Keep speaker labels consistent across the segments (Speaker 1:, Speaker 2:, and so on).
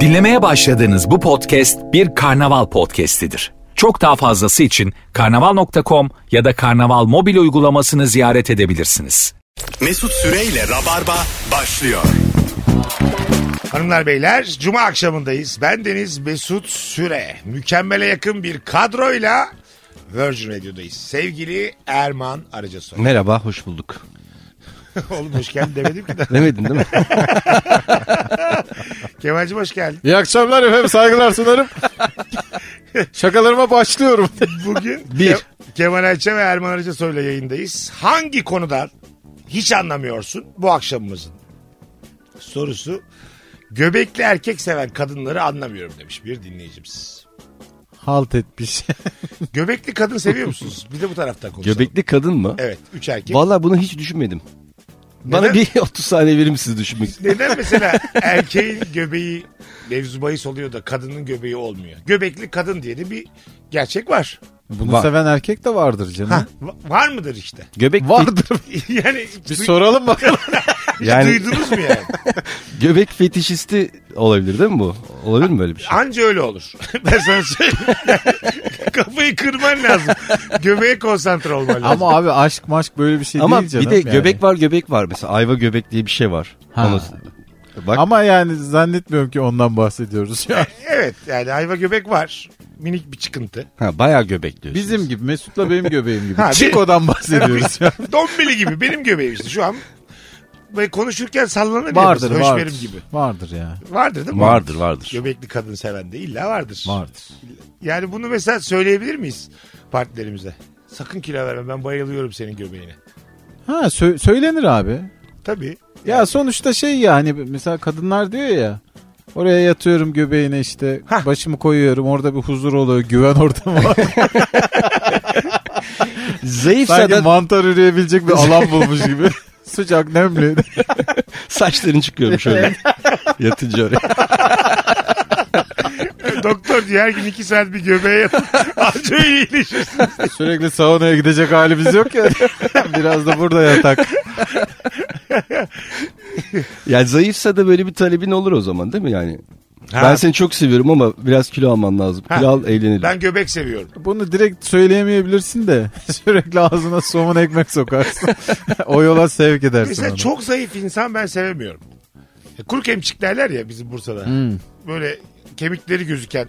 Speaker 1: Dinlemeye başladığınız bu podcast bir karnaval podcastidir. Çok daha fazlası için karnaval.com ya da karnaval mobil uygulamasını ziyaret edebilirsiniz.
Speaker 2: Mesut Süreyle Rabarba başlıyor.
Speaker 3: Hanımlar beyler cuma akşamındayız. Ben Deniz Mesut Süre. Mükemmele yakın bir kadroyla Virgin Radio'dayız. Sevgili Erman Arıcasoy.
Speaker 4: Merhaba, hoş bulduk.
Speaker 3: Oğlum hoş geldin demedim ki de.
Speaker 4: Demedin değil mi?
Speaker 3: Kemal'cim hoş geldin.
Speaker 5: İyi akşamlar efendim saygılar sunarım. Şakalarıma başlıyorum.
Speaker 3: Bugün
Speaker 4: Bir.
Speaker 3: Ke- Kemal Ayça ve Erman Arıcasoy'la yayındayız. Hangi konudan hiç anlamıyorsun bu akşamımızın sorusu. Göbekli erkek seven kadınları anlamıyorum demiş bir dinleyicimiz.
Speaker 5: Halt etmiş.
Speaker 3: Göbekli kadın seviyor musunuz? Bir de bu taraftan konuşalım.
Speaker 4: Göbekli kadın mı?
Speaker 3: Evet. Üç erkek.
Speaker 4: Vallahi bunu hiç düşünmedim.
Speaker 3: Neden?
Speaker 4: Bana bir 30 saniye verir misiniz düşünmek için?
Speaker 3: Neden mesela erkeğin göbeği mevzu bahis oluyor da kadının göbeği olmuyor? Göbekli kadın diye de bir gerçek var.
Speaker 5: Bunu
Speaker 4: Var.
Speaker 5: seven erkek de vardır canım.
Speaker 3: Va- var mıdır işte?
Speaker 4: Göbek
Speaker 5: Vardır.
Speaker 3: yani
Speaker 5: Bir
Speaker 3: du-
Speaker 5: soralım bakalım.
Speaker 3: hiç
Speaker 4: yani-
Speaker 3: duydunuz mu yani?
Speaker 4: göbek fetişisti olabilir değil mi bu? Olabilir mi böyle bir şey?
Speaker 3: Anca öyle olur. ben sana söyleyeyim. Kafayı kırman lazım. Göbeğe konsantre olman lazım.
Speaker 5: Ama abi aşk maşk böyle bir şey
Speaker 4: Ama
Speaker 5: değil canım.
Speaker 4: bir de
Speaker 5: yani.
Speaker 4: göbek var göbek var. Mesela ayva göbek diye bir şey var.
Speaker 5: Ha.
Speaker 4: Onu- bak
Speaker 5: Ama yani zannetmiyorum ki ondan bahsediyoruz. Ya.
Speaker 3: Evet yani ayva göbek var. Minik bir çıkıntı.
Speaker 4: ha, bayağı göbek diyorsun.
Speaker 5: Bizim gibi Mesut'la benim göbeğim gibi.
Speaker 3: Ha,
Speaker 5: Çiko'dan bahsediyoruz. ya.
Speaker 3: Dombili gibi benim göbeğim işte şu an. Böyle konuşurken sallanır
Speaker 5: vardır
Speaker 3: ya.
Speaker 5: vardır.
Speaker 3: Hoşverim gibi.
Speaker 5: Vardır ya.
Speaker 3: Vardır değil mi?
Speaker 4: Vardır vardır.
Speaker 3: Göbekli kadın seven de illa vardır.
Speaker 5: Vardır.
Speaker 3: Yani bunu mesela söyleyebilir miyiz partilerimize? Sakın kilo verme ben bayılıyorum senin göbeğine.
Speaker 5: Ha sö- söylenir abi.
Speaker 3: Tabii.
Speaker 5: Ya sonuçta şey ya hani mesela kadınlar diyor ya oraya yatıyorum göbeğine işte
Speaker 3: Hah.
Speaker 5: başımı koyuyorum orada bir huzur oluyor güven ortamı var.
Speaker 4: Zayıfsa
Speaker 5: Sanki
Speaker 4: da
Speaker 5: mantar üreyebilecek bir alan bulmuş gibi. Sıcak nemli.
Speaker 4: saçların çıkıyormuş öyle. Yatınca oraya.
Speaker 3: E, Doktor diyor her gün iki saat bir göbeğe yatın. Anca öyle iyileşirsin.
Speaker 5: Sürekli saunaya gidecek halimiz yok ya. Biraz da burada yatak.
Speaker 4: Yani zayıfsa da böyle bir talebin olur o zaman değil mi yani?
Speaker 3: Ha.
Speaker 4: Ben seni çok seviyorum ama biraz kilo alman lazım.
Speaker 3: Ha.
Speaker 4: Kilo al eğlenelim.
Speaker 3: Ben göbek seviyorum.
Speaker 5: Bunu direkt söyleyemeyebilirsin de sürekli ağzına somun ekmek sokarsın. o yola sevk edersin
Speaker 3: Mesela
Speaker 5: onu.
Speaker 3: çok zayıf insan ben sevemiyorum. E, Kuru kemçik derler ya bizim Bursa'da.
Speaker 5: Hmm.
Speaker 3: Böyle kemikleri gözüken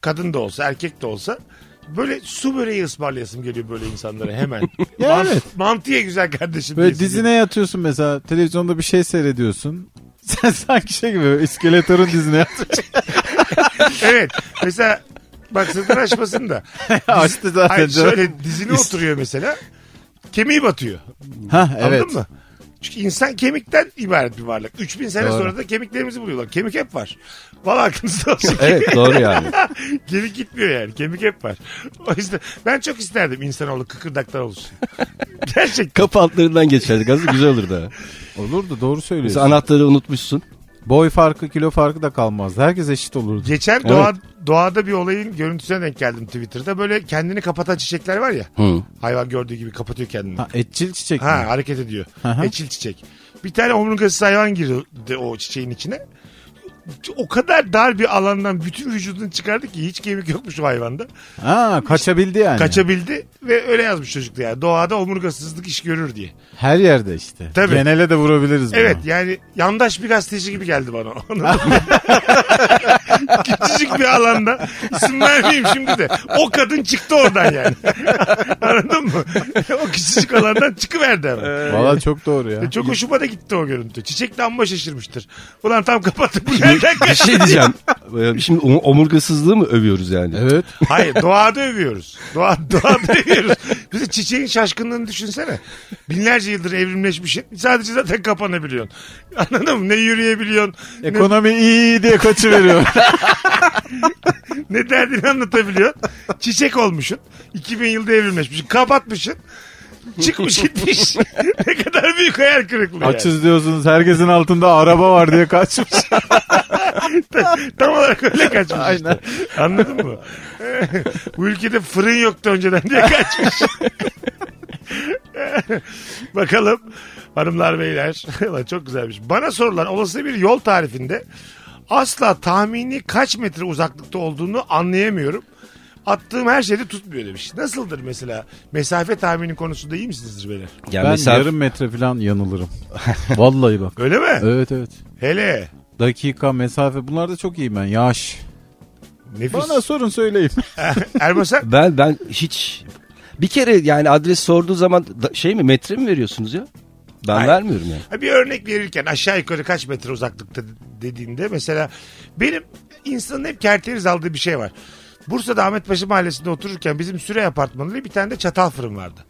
Speaker 3: kadın da olsa erkek de olsa böyle su böreği ısmarlayasım geliyor böyle insanlara hemen.
Speaker 5: Ya
Speaker 3: Mant-
Speaker 5: evet.
Speaker 3: Mantıya güzel kardeşim.
Speaker 5: Böyle
Speaker 3: diyesim
Speaker 5: dizine yatıyorsun mesela televizyonda bir şey seyrediyorsun. Sen sanki şey gibi iskeletorun dizine yatıyorsun.
Speaker 3: Evet. Mesela bak sırtını açmasın da.
Speaker 5: Açtı zaten.
Speaker 3: Ay,
Speaker 5: canım.
Speaker 3: şöyle dizine oturuyor mesela. Kemiği batıyor.
Speaker 5: Ha evet.
Speaker 3: Anladın mı? Çünkü insan kemikten ibaret bir varlık. 3000 sene
Speaker 5: Doğru.
Speaker 3: sonra da kemiklerimizi buluyorlar. Kemik hep var. Valla aklınızda olsun.
Speaker 4: Evet doğru yani.
Speaker 3: Kemik gitmiyor yani. Kemik hep var. O yüzden ben çok isterdim insanoğlu kıkırdaklar olsun. Gerçekten.
Speaker 4: Kapı altlarından geçerdik aslında güzel olurdu. ha.
Speaker 5: Olurdu doğru söylüyorsun.
Speaker 4: Mesela anahtarı unutmuşsun.
Speaker 5: Boy farkı kilo farkı da kalmazdı. Herkes eşit olurdu.
Speaker 3: Geçen doğa, doğada bir olayın görüntüsüne denk geldim Twitter'da. Böyle kendini kapatan çiçekler var ya.
Speaker 4: Hı.
Speaker 3: Hayvan gördüğü gibi kapatıyor kendini.
Speaker 5: Ha, etçil çiçek mi?
Speaker 3: Ha hareket ediyor.
Speaker 5: hı.
Speaker 3: Eçil çiçek. Bir tane omurgasız hayvan girdi o çiçeğin içine. O kadar dar bir alandan bütün vücudunu çıkardı ki hiç kemik yokmuş o hayvanda.
Speaker 5: Ha, kaçabildi yani.
Speaker 3: Kaçabildi ve öyle yazmış çocuk da yani. Doğada omurgasızlık iş görür diye.
Speaker 5: Her yerde işte.
Speaker 3: Tabii.
Speaker 5: Genele de vurabiliriz bunu.
Speaker 3: Evet yani yandaş bir gazeteci gibi geldi bana. Anladın mı? Küçücük bir alanda isim vermeyeyim şimdi de. O kadın çıktı oradan yani. Anladın mı? o küçücük alandan çıkıverdi hemen.
Speaker 5: Valla çok doğru ya.
Speaker 3: E, Çok hoşuma da gitti o görüntü. Çiçek de amma şaşırmıştır. Ulan tam kapattık bu yerden
Speaker 4: Bir şey diyeceğim. Ee, Şimdi om- omurgasızlığı mı övüyoruz yani?
Speaker 5: Evet.
Speaker 3: Hayır doğada övüyoruz. Doğa, doğada övüyoruz. Bize çiçeğin şaşkınlığını düşünsene. Binlerce yıldır evrimleşmişsin. Sadece zaten kapanabiliyorsun. Anladın mı? Ne yürüyebiliyorsun. Ne,
Speaker 5: Ekonomi iyi diye kaçıveriyor.
Speaker 3: ne derdini anlatabiliyorsun. Çiçek olmuşsun. 2000 yılda evrimleşmişsin. Kapatmışsın. Çıkmış gitmiş. ne kadar büyük hayal kırıklığı. yani.
Speaker 5: Açız diyorsunuz herkesin altında araba var diye kaçmış.
Speaker 3: Tam olarak öyle kaçmış işte. Anladın mı? Bu ülkede fırın yoktu önceden diye kaçmış. Bakalım Hanımlar beyler. Lan çok güzelmiş. Bana sorulan olası bir yol tarifinde asla tahmini kaç metre uzaklıkta olduğunu anlayamıyorum. Attığım her şeyde tutmuyor demiş. Nasıldır mesela? Mesafe tahmini konusunda iyi misinizdir beyler?
Speaker 4: Ya
Speaker 5: ben
Speaker 4: mesela
Speaker 5: yarım metre falan yanılırım. Vallahi bak.
Speaker 3: Öyle mi?
Speaker 5: Evet evet.
Speaker 3: Hele.
Speaker 5: Dakika, mesafe bunlar da çok iyi ben. Yaş.
Speaker 3: Nefis.
Speaker 5: Bana sorun söyleyeyim.
Speaker 3: Erman sen?
Speaker 4: ben ben hiç bir kere yani adres sorduğu zaman da- şey mi metre mi veriyorsunuz ya? Ben
Speaker 3: Hayır.
Speaker 4: vermiyorum yani.
Speaker 3: Ha, Bir örnek verirken aşağı yukarı kaç metre uzaklıkta dediğinde mesela benim insanın hep kerteriz aldığı bir şey var. Bursa'da Ahmetpaşa Mahallesi'nde otururken bizim Süre Apartmanı'nda bir tane de çatal fırın vardı.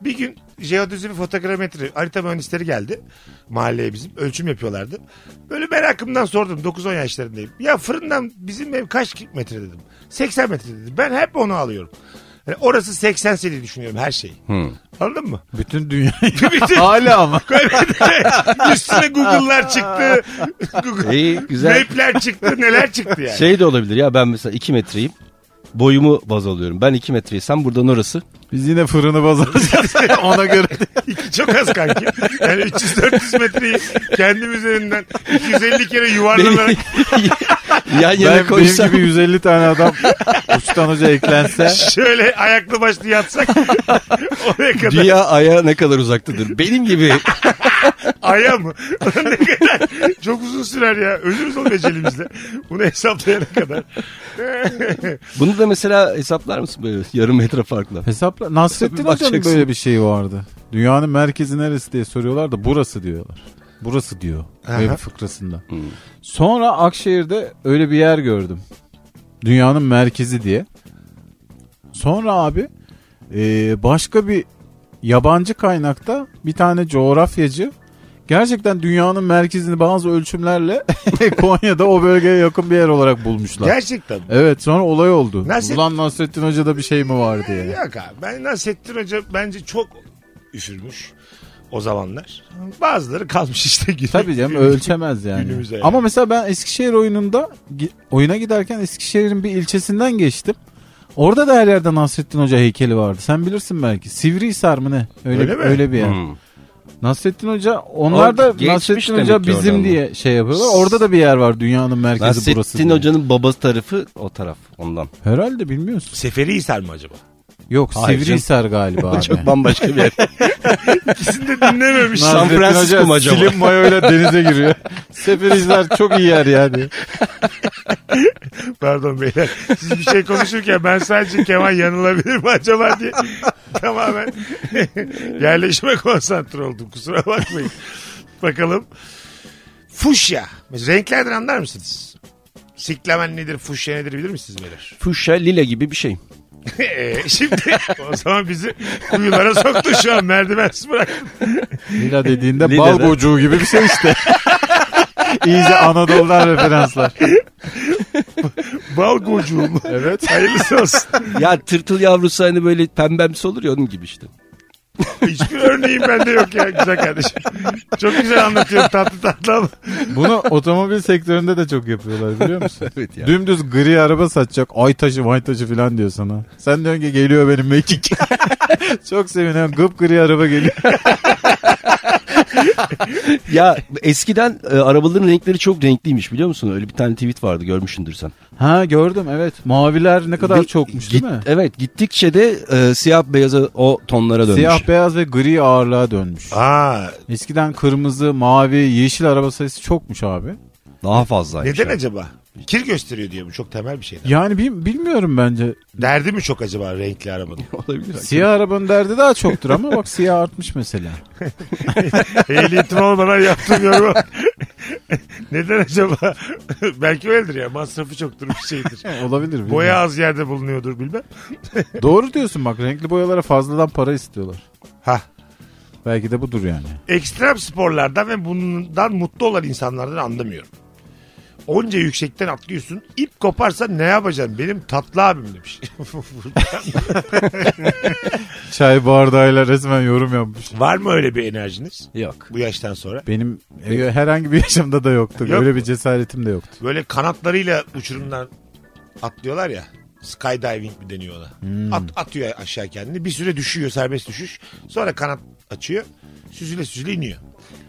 Speaker 3: Bir gün jeodüzü bir fotogrametri harita mühendisleri geldi mahalleye bizim ölçüm yapıyorlardı. Böyle merakımdan sordum 9-10 yaşlarındayım. Ya fırından bizim ev kaç metre dedim. 80 metre dedi. Ben hep onu alıyorum. Yani orası 80 seni düşünüyorum her şeyi. Anladın mı?
Speaker 5: Bütün dünyayı.
Speaker 3: Bütün-
Speaker 5: Hala ama.
Speaker 3: Üstüne Google'lar çıktı. Google.
Speaker 4: İyi güzel.
Speaker 3: Map'ler çıktı neler çıktı yani.
Speaker 4: Şey de olabilir ya ben mesela 2 metreyim. Boyumu baz alıyorum. Ben 2 metreysem buradan orası.
Speaker 5: Biz yine fırını baz alacağız. Ona göre.
Speaker 3: İki çok az kanki. Yani 300-400 metreyi kendim üzerinden 250 kere yuvarlanarak
Speaker 4: Yan yana
Speaker 5: Ben benim
Speaker 4: koysam.
Speaker 5: gibi 150 tane adam uçtan hoca eklense.
Speaker 3: şöyle ayaklı başlı yatsak oraya kadar.
Speaker 4: Dünya aya ne kadar uzaktadır. Benim gibi
Speaker 3: Aya mı? Ulan ne kadar çok uzun sürer ya. Ölürüz o becerimizle. Bunu hesaplayana kadar.
Speaker 4: Bunu da mesela hesaplar mısın böyle yarım metre farkla?
Speaker 5: Hesapla Nasrettin
Speaker 4: Tabii
Speaker 5: Hoca'nın
Speaker 4: bakacaksın.
Speaker 5: böyle bir şeyi vardı. Dünyanın merkezi neresi diye soruyorlar da burası diyorlar. Burası diyor web fıkrasında. Sonra Akşehir'de öyle bir yer gördüm. Dünyanın merkezi diye. Sonra abi e, başka bir yabancı kaynakta bir tane coğrafyacı gerçekten dünyanın merkezini bazı ölçümlerle Konya'da o bölgeye yakın bir yer olarak bulmuşlar.
Speaker 3: Gerçekten.
Speaker 5: Evet sonra olay oldu.
Speaker 3: Nasrettin-
Speaker 5: Ulan Nasrettin Hoca'da bir şey mi var diye.
Speaker 3: Yok abi. Ben Nasrettin Hoca bence çok üfürmüş o zamanlar. Bazıları kalmış işte. Günü,
Speaker 5: Tabii canım
Speaker 3: günü-
Speaker 5: ölçemez yani.
Speaker 3: Günümüze yani.
Speaker 5: Ama mesela ben Eskişehir oyununda gi- oyuna giderken Eskişehir'in bir ilçesinden geçtim. Orada da her yerde Nasrettin Hoca heykeli vardı. Sen bilirsin belki. Sivrihisar mı ne? Öyle
Speaker 3: Öyle
Speaker 5: öyle,
Speaker 3: mi?
Speaker 5: bir yer.
Speaker 4: Hmm.
Speaker 5: Nasrettin Hoca onlar
Speaker 4: O
Speaker 5: da
Speaker 4: geçmiş
Speaker 5: Nasrettin
Speaker 4: demek
Speaker 5: Hoca
Speaker 4: ki oradan
Speaker 5: bizim
Speaker 4: da.
Speaker 5: diye şey yapıyorlar. Orada da bir yer var dünyanın merkezi burası.
Speaker 4: Nasrettin
Speaker 5: diye.
Speaker 4: Hoca'nın babası tarafı o taraf ondan.
Speaker 5: Herhalde bilmiyorsun.
Speaker 3: Seferihisar mı acaba?
Speaker 5: Yok
Speaker 4: Hayır
Speaker 5: Sivrihisar galiba abi.
Speaker 4: Çok bambaşka bir yer.
Speaker 3: İkisini de dinlememiş.
Speaker 4: San
Speaker 5: Nasrettin
Speaker 4: Francisco
Speaker 5: Hoca
Speaker 4: mu acaba?
Speaker 5: Slim mayoyla denize giriyor. Seferihisar çok iyi yer yani.
Speaker 3: Pardon beyler. Siz bir şey konuşurken ben sadece Kemal yanılabilir mi acaba diye tamamen yerleşime konsantre oldum. Kusura bakmayın. Bakalım. Fuşya. Mesela renklerden anlar mısınız? Siklemen nedir, fuşya nedir bilir misiniz beyler?
Speaker 4: Fuşya lila gibi bir şey.
Speaker 3: Ee, şimdi o zaman bizi kuyulara soktu şu an merdivensiz bıraktı.
Speaker 5: Lila dediğinde
Speaker 4: Lila
Speaker 5: bal
Speaker 4: de.
Speaker 5: bocuğu gibi bir şey işte. İyice Anadolu'dan referanslar.
Speaker 3: Bal gocuğu mu?
Speaker 5: Evet.
Speaker 3: Hayırlısı olsun.
Speaker 4: Ya tırtıl yavrusu hani böyle pembemsi olur ya onun gibi işte.
Speaker 3: Hiçbir örneğim bende yok ya güzel kardeşim. Çok güzel anlatıyorum tatlı tatlı ama.
Speaker 5: Bunu otomobil sektöründe de çok yapıyorlar biliyor musun?
Speaker 4: Evet ya.
Speaker 5: Dümdüz gri araba satacak. Ay taşı vay taşı falan diyor sana. Sen diyorsun ki geliyor benim mekik. çok seviniyorum. Gıp gri araba geliyor.
Speaker 4: Ya eskiden e, arabaların renkleri çok renkliymiş biliyor musun? Öyle bir tane tweet vardı görmüşsündür sen.
Speaker 5: Ha gördüm evet. Maviler ne kadar
Speaker 4: Ve
Speaker 5: çokmuş
Speaker 4: git-
Speaker 5: değil mi?
Speaker 4: Evet gittikçe de e, siyah beyaza o tonlara dönmüş.
Speaker 5: Siyah beyaz ve gri ağırlığa dönmüş.
Speaker 3: Aa,
Speaker 5: Eskiden kırmızı, mavi, yeşil araba sayısı çokmuş abi.
Speaker 4: Daha fazla.
Speaker 3: Neden acaba? Kir gösteriyor diye bu çok temel bir şeyden.
Speaker 5: Yani bil- bilmiyorum bence.
Speaker 3: Derdi mi çok acaba renkli arabanın?
Speaker 4: Olabilir.
Speaker 5: Siyah arabanın derdi daha çoktur ama bak siyah artmış mesela.
Speaker 3: Ehliyetim olmadan yaptım yorumu. Neden acaba? Belki öyledir ya masrafı çoktur bir şeydir.
Speaker 5: Olabilir. bilmiyorum.
Speaker 3: Boya az yerde bulunuyordur bilmem.
Speaker 5: Doğru diyorsun bak renkli boyalara fazladan para istiyorlar.
Speaker 3: Hah.
Speaker 5: Belki de budur yani.
Speaker 3: Ekstrem sporlardan ve bundan mutlu olan insanlardan anlamıyorum. Onca yüksekten atlıyorsun. ip koparsa ne yapacaksın? Benim tatlı abim demiş.
Speaker 5: Çay bardağıyla resmen yorum yapmış.
Speaker 3: Var mı öyle bir enerjiniz
Speaker 4: Yok.
Speaker 3: bu yaştan sonra?
Speaker 5: Benim e, herhangi bir yaşamda da yoktu.
Speaker 3: Yok
Speaker 5: Öyle bir cesaretim de yoktu.
Speaker 3: Böyle kanatlarıyla uçurumdan atlıyorlar ya.
Speaker 4: Hmm.
Speaker 3: Skydiving mi deniyor ona? At, atıyor aşağı kendini. Bir süre düşüyor serbest düşüş. Sonra kanat açıyor. Süzüle süzüle iniyor.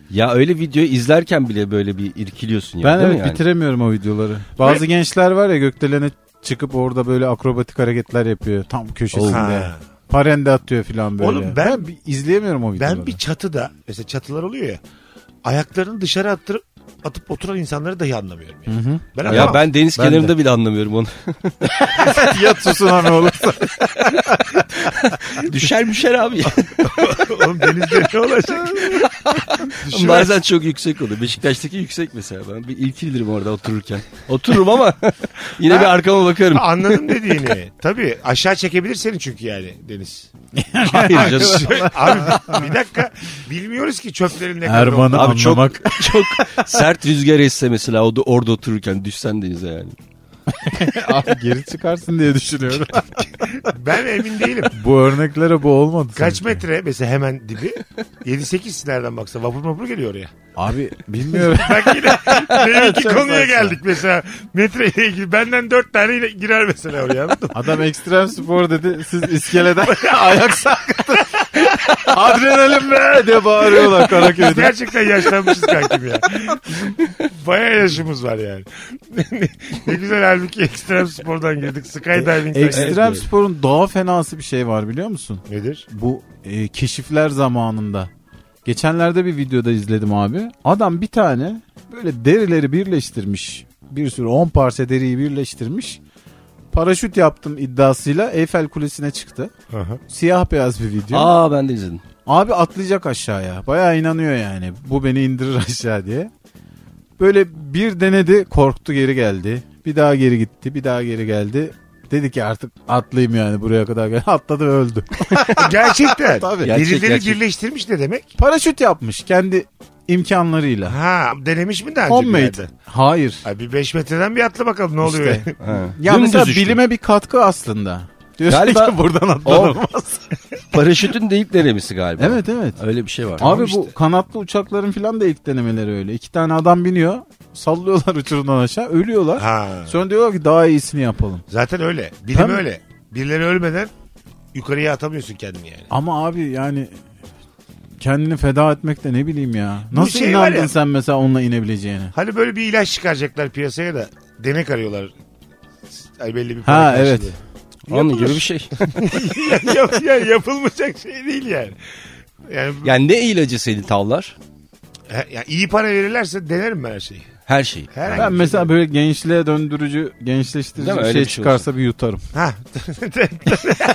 Speaker 4: Ya öyle videoyu izlerken bile böyle bir irkiliyorsun ya.
Speaker 5: Ben
Speaker 4: değil
Speaker 5: evet
Speaker 4: mi yani?
Speaker 5: bitiremiyorum o videoları. Bazı gençler var ya gökdelene çıkıp orada böyle akrobatik hareketler yapıyor tam köşesinde.
Speaker 3: Ha.
Speaker 5: Parende atıyor filan böyle.
Speaker 3: Oğlum ben-
Speaker 5: bir- izleyemiyorum o videoları.
Speaker 3: Ben bir çatıda mesela çatılar oluyor ya ayaklarını dışarı attırıp atıp oturan insanları dahi anlamıyorum. Yani. Ben
Speaker 4: Ya
Speaker 3: anlamam.
Speaker 4: ben deniz
Speaker 5: Ben
Speaker 4: kenarında bile anlamıyorum onu.
Speaker 5: yat susun ha ne olursa.
Speaker 4: düşer düşer abi.
Speaker 3: Oğlum denizde ne olacak? Düşüver.
Speaker 4: Bazen çok yüksek oluyor. Beşiktaş'taki yüksek mesela. Ben bir ilkilirim orada otururken. Otururum ama yine bir arkama bakarım.
Speaker 3: Anladım dediğini. Tabii aşağı çekebilir seni çünkü yani Deniz.
Speaker 4: Hayır canım.
Speaker 3: Abi bir dakika bilmiyoruz ki çöplerin ne kadar
Speaker 5: Erman'ı
Speaker 3: olduğunu.
Speaker 4: Abi çok-
Speaker 5: anlamak.
Speaker 4: Çok sert rüzgar esse mesela o da orada otururken düşsen denize yani.
Speaker 5: Abi geri çıkarsın diye düşünüyorum.
Speaker 3: Ben emin değilim.
Speaker 5: bu örneklere bu olmadı.
Speaker 3: Kaç
Speaker 5: sanki.
Speaker 3: metre mesela hemen dibi? 7-8 nereden baksa vapur vapur geliyor oraya.
Speaker 5: Abi bilmiyorum.
Speaker 3: Bak yine deminki
Speaker 5: Çok
Speaker 3: konuya
Speaker 5: saçma.
Speaker 3: geldik mesela. Metreyle ilgili benden 4 tane yine girer mesela oraya anladın mı?
Speaker 5: Adam ekstrem spor dedi. Siz iskeleden ayak sarkıttı. Adrenalin be diye bağırıyorlar
Speaker 3: Biz
Speaker 5: Karaköy'de.
Speaker 3: gerçekten yaşlanmışız kankim ya. Bizim Bayağı yaşımız var yani. ne güzel halbuki ekstrem spordan girdik. Skydiving'den
Speaker 5: Ekstrem
Speaker 3: girdik.
Speaker 5: sporun daha fenası bir şey var biliyor musun?
Speaker 3: Nedir?
Speaker 5: Bu e, keşifler zamanında. Geçenlerde bir videoda izledim abi. Adam bir tane böyle derileri birleştirmiş. Bir sürü 10 parça deriyi birleştirmiş. Paraşüt yaptım iddiasıyla Eyfel Kulesi'ne çıktı.
Speaker 3: Aha.
Speaker 5: Siyah beyaz bir video.
Speaker 4: Aa ben de izledim.
Speaker 5: Abi atlayacak aşağıya. Bayağı inanıyor yani. Bu beni indirir aşağı diye. Böyle bir denedi korktu geri geldi. Bir daha geri gitti bir daha geri geldi. Dedi ki artık atlayayım yani buraya kadar gel. Atladı ve öldü.
Speaker 3: E, Gerçekten.
Speaker 5: Tabii.
Speaker 4: Gerçek,
Speaker 3: Dirileri
Speaker 4: gerçek.
Speaker 3: birleştirmiş ne demek?
Speaker 5: Paraşüt yapmış kendi imkanlarıyla.
Speaker 3: Ha denemiş mi daha önce bir
Speaker 5: Homemade.
Speaker 3: yerde?
Speaker 5: Hayır.
Speaker 3: Ay bir 5 metreden bir atla bakalım ne oluyor.
Speaker 5: İşte.
Speaker 3: yani?
Speaker 5: Ya
Speaker 4: Dümdüz
Speaker 5: mesela
Speaker 4: düştü.
Speaker 5: bilime bir katkı aslında. Diyorsun
Speaker 4: Galiba-
Speaker 5: ki buradan
Speaker 4: O
Speaker 5: atlanamaz.
Speaker 4: paraşütün de ilk denemesi galiba.
Speaker 5: Evet evet.
Speaker 4: Öyle bir şey var.
Speaker 5: Abi bu kanatlı uçakların filan da ilk denemeleri öyle. İki tane adam biniyor. Sallıyorlar uçurumdan aşağı. Ölüyorlar.
Speaker 3: Ha.
Speaker 5: Sonra diyorlar ki daha iyisini yapalım.
Speaker 3: Zaten öyle. Bilim
Speaker 5: Tabii.
Speaker 3: öyle. Birileri ölmeden yukarıya atamıyorsun kendini yani.
Speaker 5: Ama abi yani kendini feda etmek de ne bileyim ya.
Speaker 3: Bu
Speaker 5: Nasıl
Speaker 3: şey var
Speaker 5: inandın
Speaker 3: ya-
Speaker 5: sen mesela onunla inebileceğine?
Speaker 3: Hani böyle bir ilaç çıkaracaklar piyasaya da denek arıyorlar. Ay belli bir para
Speaker 5: Ha evet.
Speaker 3: karşılığı.
Speaker 4: Onun gibi bir şey.
Speaker 3: yani, yap- yani yapılmayacak şey değil yani. Yani,
Speaker 4: Yani ne ilacı seni tavlar?
Speaker 3: he- yani iyi para verirlerse denerim ben her şeyi.
Speaker 4: Her şey. şeyi.
Speaker 3: Herhangi
Speaker 5: Ben
Speaker 3: bir
Speaker 5: mesela böyle gençliğe döndürücü, gençleştirici
Speaker 4: Değil mi?
Speaker 5: bir
Speaker 4: Öyle
Speaker 5: şey
Speaker 4: bir şey
Speaker 5: çıkarsa bir yutarım.
Speaker 3: şey. Ha.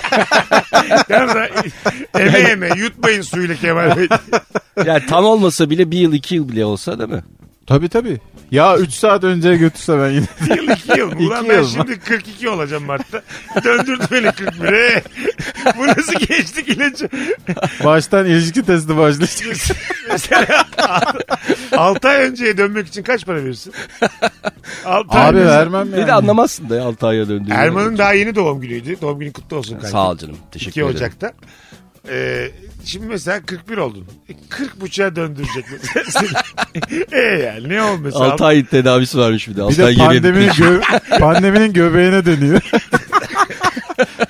Speaker 3: Yalnız ha, eme eme yutmayın suyla Kemal Bey.
Speaker 4: Yani tam olmasa bile bir yıl iki yıl bile olsa değil mi?
Speaker 5: Tabii tabii. Ya 3 saat önce götürse ben yine.
Speaker 3: Bir yıl iki yıl. Ulan
Speaker 5: İki
Speaker 3: ben
Speaker 5: yıl mı?
Speaker 3: şimdi 42 olacağım Mart'ta. Döndürdü beni 41'e. Bu nasıl geçtik ilacı?
Speaker 5: Baştan ilişki testi başlayacak.
Speaker 3: Mesela 6 ay önceye dönmek için kaç para verirsin? Altı ay
Speaker 5: Abi
Speaker 3: önce-
Speaker 5: vermem yani.
Speaker 4: Bir de anlamazsın da ya 6 aya döndüğünü.
Speaker 3: Erman'ın daha yeni doğum günüydü. Doğum günü kutlu olsun kanka.
Speaker 4: Sağ ol canım. Teşekkür
Speaker 3: 2
Speaker 4: ederim.
Speaker 3: Ocak'ta. Ee, şimdi mesela 41 oldun. E, 40 buçuğa döndürecek mesela seni. e yani ne oldu mesela?
Speaker 4: 6 ay tedavisi varmış bir de.
Speaker 5: Bir
Speaker 4: Altı ay
Speaker 5: de
Speaker 4: geriye
Speaker 5: pandeminin,
Speaker 4: gitmiş.
Speaker 5: gö- pandeminin göbeğine dönüyor.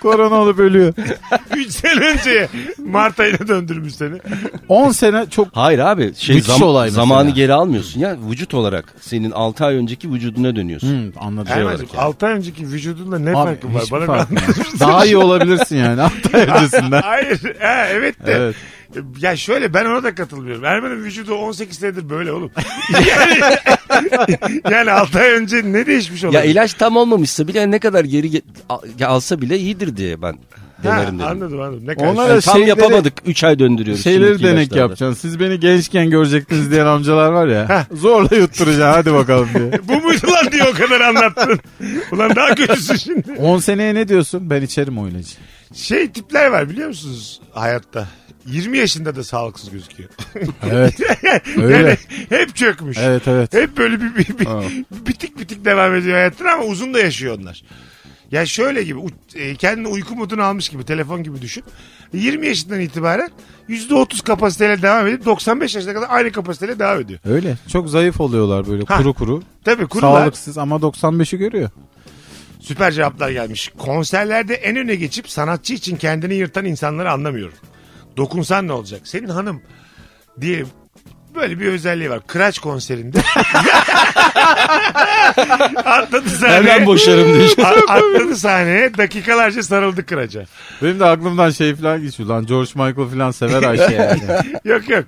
Speaker 5: Korona olup ölüyor.
Speaker 3: 3 sene önceye Mart ayına döndürmüş seni.
Speaker 5: 10 sene çok
Speaker 4: Hayır abi şey
Speaker 5: Müthiş
Speaker 4: zam-
Speaker 5: olay mesela.
Speaker 4: zamanı geri almıyorsun ya vücut olarak senin 6 ay önceki vücuduna dönüyorsun.
Speaker 5: Hı, Hmm, anladım.
Speaker 3: Erman'cığım 6 ay önceki vücudunda ne
Speaker 5: Şey Abi,
Speaker 3: farkı var?
Speaker 5: hiçbir
Speaker 3: Bana
Speaker 5: fark
Speaker 3: bir
Speaker 5: yok. Daha iyi olabilirsin yani 6 ay öncesinden.
Speaker 3: Hayır. Ha, evet de.
Speaker 5: Evet.
Speaker 3: E, Ya şöyle ben ona da katılmıyorum. Ermen'in vücudu 18 senedir böyle oğlum. yani, yani 6 ay önce ne değişmiş olabilir?
Speaker 4: Ya ilaç tam olmamışsa bile ne kadar geri ge- al- ya alsa bile iyidir diye ben
Speaker 3: ha,
Speaker 4: denerim dedim.
Speaker 3: anladım anladım. Ne şey-
Speaker 5: Onlar
Speaker 3: karşı-
Speaker 4: Yani
Speaker 5: da
Speaker 4: tam
Speaker 5: şeyleri-
Speaker 4: yapamadık 3 ay döndürüyoruz.
Speaker 5: Şeyleri
Speaker 4: şimdiki
Speaker 5: denek
Speaker 4: ilaçlarda.
Speaker 5: yapacaksın. Siz beni gençken görecektiniz diyen amcalar var ya. zorla yutturacaksın hadi bakalım diye.
Speaker 3: Bu muydu lan diye o kadar anlattın. Ulan daha kötüsü şimdi.
Speaker 5: 10 seneye ne diyorsun? Ben içerim o ilacı.
Speaker 3: Şey tipler var biliyor musunuz hayatta? 20 yaşında da sağlıksız gözüküyor.
Speaker 5: Evet.
Speaker 3: yani
Speaker 5: Öyle.
Speaker 3: hep çökmüş.
Speaker 5: Evet evet.
Speaker 3: Hep böyle bir, bir, bir,
Speaker 5: Ha.
Speaker 3: bitik bitik devam ediyor hayatına ama uzun da yaşıyor onlar. Ya şöyle gibi u- e, kendini uyku moduna almış gibi telefon gibi düşün. 20 yaşından itibaren %30 kapasiteyle devam edip 95 yaşına kadar aynı kapasiteyle devam ediyor.
Speaker 5: Öyle. Çok zayıf oluyorlar böyle
Speaker 3: Ha.
Speaker 5: kuru kuru.
Speaker 3: Tabii kurular
Speaker 5: Sağlıksız ama 95'i görüyor.
Speaker 3: süper cevaplar gelmiş. Konserlerde en öne geçip sanatçı için kendini yırtan insanları anlamıyorum. Dokunsan ne olacak? Senin hanım diyelim böyle bir özelliği var. Kıraç konserinde. atladı sahneye.
Speaker 4: Hemen boşarım diye.
Speaker 3: A- atladı sahneye. Dakikalarca sarıldı kıraça.
Speaker 5: Benim de aklımdan şey falan geçiyor. Lan George Michael falan sever Ayşe yani.
Speaker 3: Yok yok.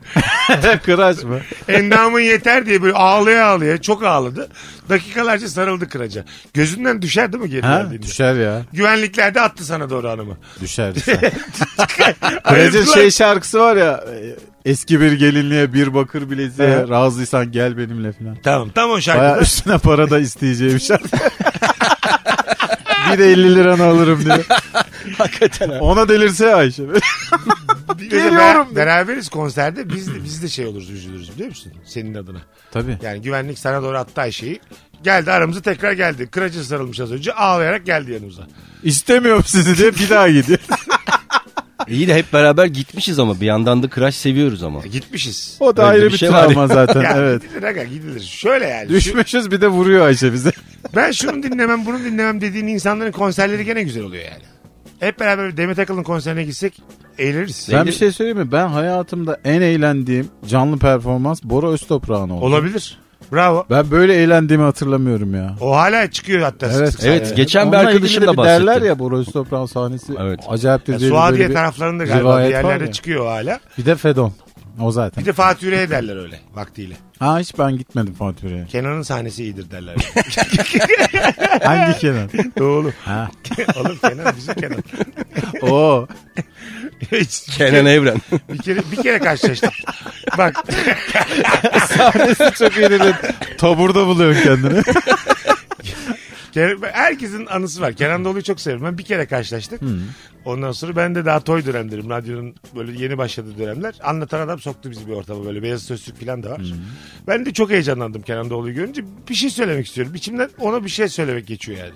Speaker 5: Kıraç mı?
Speaker 3: Endamın yeter diye böyle ağlaya ağlaya çok ağladı. Dakikalarca sarıldı kıraca. Gözünden düşer değil mi geri
Speaker 5: Ha?
Speaker 3: geldiğinde?
Speaker 5: Düşer ya.
Speaker 3: Güvenliklerde attı sana doğru hanımı.
Speaker 5: Düşer. düşer. Kıraç'ın
Speaker 3: Ayırdılar.
Speaker 5: şey şarkısı var ya. e, Eski bir gelinliğe bir bakır bileziğe
Speaker 3: Hı.
Speaker 5: razıysan gel benimle falan.
Speaker 3: Tamam tam o şarkıda.
Speaker 5: Baya üstüne para da isteyeceğim şarkı. bir de 50 liranı alırım diyor.
Speaker 4: Hakikaten ha.
Speaker 5: Ona delirse Ayşe.
Speaker 3: Bir de
Speaker 5: Geliyorum.
Speaker 3: ber- beraberiz konserde biz de, biz de şey oluruz üzülürüz biliyor musun? Senin adına.
Speaker 5: Tabii.
Speaker 3: Yani güvenlik sana doğru attı Ayşe'yi. Geldi aramıza tekrar geldi. Kıracı sarılmış az önce ağlayarak geldi yanımıza.
Speaker 5: İstemiyorum sizi diye bir daha gidiyor.
Speaker 4: İyi de hep beraber gitmişiz ama bir yandan da Crash seviyoruz ama.
Speaker 3: Ya E, gitmişiz.
Speaker 5: O da
Speaker 4: Öyle
Speaker 5: ayrı
Speaker 4: bir
Speaker 5: bir
Speaker 4: şey var
Speaker 5: travma zaten.
Speaker 3: Ya
Speaker 5: evet.
Speaker 3: gidilir aga gidilir. Şöyle yani. şu-
Speaker 5: Düşmüşüz bir de vuruyor Ayşe bize.
Speaker 3: ben şunu dinlemem bunu dinlemem dediğin insanların konserleri gene güzel oluyor yani. Hep beraber Demet Akalın konserine gitsek eğleniriz.
Speaker 5: Ben bir şey söyleyeyim mi? Ben hayatımda en eğlendiğim canlı performans Bora Öztoprak'ın oldu.
Speaker 3: Olabilir. Bravo.
Speaker 5: Ben böyle eğlendiğimi hatırlamıyorum ya.
Speaker 3: O hala çıkıyor hatta. sık sık.
Speaker 4: evet. geçen bir
Speaker 5: Onunla
Speaker 4: arkadaşım
Speaker 5: ilgili de
Speaker 4: da
Speaker 5: bir
Speaker 4: bahsetti.
Speaker 5: Derler ya Bora Öztoprak'ın sahnesi
Speaker 4: Evet.
Speaker 5: acayip
Speaker 3: Ya
Speaker 5: bir
Speaker 3: Suadiye
Speaker 5: böyle bir,
Speaker 3: taraflarında galiba bir
Speaker 5: rivayet var
Speaker 3: yerlerde
Speaker 5: ya.
Speaker 3: çıkıyor hala.
Speaker 5: bir de Fedon. O zaten.
Speaker 3: Bir de Fatih Üre'ye derler öyle vaktiyle.
Speaker 5: Ha hiç ben gitmedim Fatih Bey'e.
Speaker 3: Kenan'ın sahnesi iyidir derler.
Speaker 5: Hangi Kenan?
Speaker 3: Doğru.
Speaker 5: Ha.
Speaker 3: Oğlum Kenan bizim Kenan.
Speaker 5: Oo.
Speaker 3: Hiç-
Speaker 4: Kenan Evren.
Speaker 3: Bir kere, bir kere karşılaştık. Bak
Speaker 5: Sahnesi çok iyidir. Taburda buluyorsun kendini.
Speaker 3: Kenan- herkesin anısı var. Kenan Dolu'yu çok severim. Ben bir kere karşılaştık. Ondan sonra ben de daha toy dönemlerim. Radyonun böyle yeni başladığı dönemler. Anlatan adam soktu bizi bir ortama böyle. Beyaz sözlük falan da var. Ben de çok heyecanlandım Kenan Dolu'yu görünce. Bir şey söylemek istiyorum. İçimden ona bir şey söylemek geçiyor yani.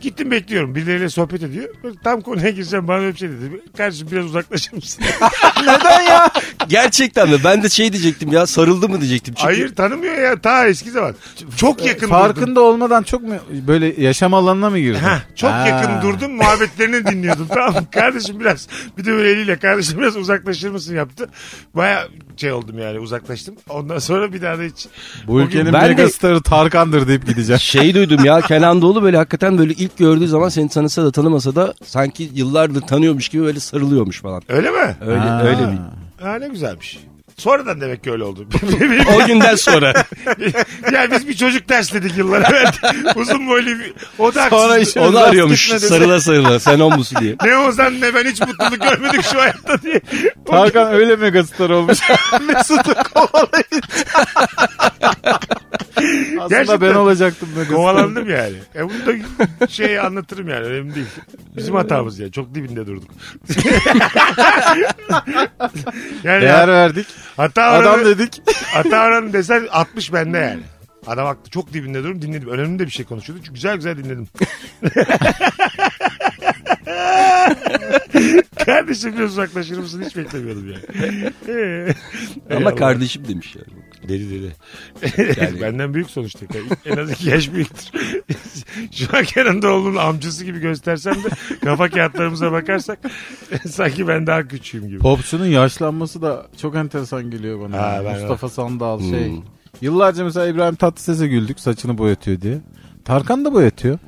Speaker 3: Gittim bekliyorum. Birileriyle sohbet ediyor. Böyle tam konuya gireceğim bana öyle bir şey dedi. Kardeşim biraz uzaklaşır mısın?
Speaker 4: Neden ya? Gerçekten mi? Ben de şey diyecektim ya sarıldı mı diyecektim. Çünkü
Speaker 3: Hayır tanımıyor ya. Ta eski zaman. Çok yakın durdum.
Speaker 5: Farkında olmadan çok mu böyle yaşam alanına mı girdin?
Speaker 3: Heh, çok
Speaker 5: Ha.
Speaker 3: yakın durdum muhabbetlerini dinliyordum tamam mı? Kardeşim biraz bir de böyle eliyle kardeşim biraz uzaklaşır mısın yaptı. Baya şey oldum yani uzaklaştım. Ondan sonra bir daha da hiç.
Speaker 5: Bu ülkenin
Speaker 4: Ben de-
Speaker 5: megastarı Tarkan'dır deyip gideceğim.
Speaker 4: Şey duydum ya Kenan Doğulu böyle hakikaten böyle ilk gördüğü zaman seni tanısa da tanımasa da sanki yıllardır tanıyormuş gibi böyle sarılıyormuş falan.
Speaker 3: Öyle mi?
Speaker 4: Öyle
Speaker 5: Ha.
Speaker 4: öyle bir.
Speaker 3: Ha, ne güzelmiş. Sonradan demek ki öyle oldu.
Speaker 4: O günden sonra.
Speaker 3: ya biz bir çocuk dersledik yıllar evvel. Uzun boylu bir... O da
Speaker 5: Sonra
Speaker 3: haksızlık.
Speaker 5: işte-
Speaker 4: Onu
Speaker 5: Rast
Speaker 4: arıyormuş
Speaker 5: gitmedi.
Speaker 4: sarıla sarıla sen o musun diye.
Speaker 3: Ne Ozan ne ben hiç mutluluk görmedik şu hayatta diye. O-
Speaker 5: Tarkan öyle megastar olmuş. Mesut'u kovalayın. Aslında
Speaker 3: Gerçekten.
Speaker 5: ben olacaktım megastar.
Speaker 3: Kovalandım yani. E bunu da şey anlatırım yani önemli değil. Bizim hatamız yani çok dibinde durduk. yani
Speaker 5: Değer verdik.
Speaker 3: hata oranı,
Speaker 5: Adam dedik.
Speaker 3: hata oranı desen 60 bende yani. Adam haklı çok dibinde durum dinledim. Önemli de bir şey konuşuyordu çünkü güzel güzel dinledim. Kardeşim biraz uzaklaşır mısın hiç beklemiyordum yani. Ey
Speaker 4: Ama
Speaker 3: Allah.
Speaker 4: kardeşim demiş yani.
Speaker 3: Deli deli. Benden büyük sonuçta. En az iki yaş büyüktür. Şu an Kenan Doğulu'nun amcası gibi göstersem de kafa kağıtlarımıza bakarsak sanki ben daha küçüğüm gibi.
Speaker 5: Popçunun yaşlanması da çok enteresan geliyor bana.
Speaker 3: Ha,
Speaker 5: Yani
Speaker 3: ben-
Speaker 5: Mustafa Sandal
Speaker 4: Hmm.
Speaker 5: şey. Yıllarca mesela İbrahim Tatlıses'e güldük saçını boyatıyor diye. Tarkan da boyatıyor.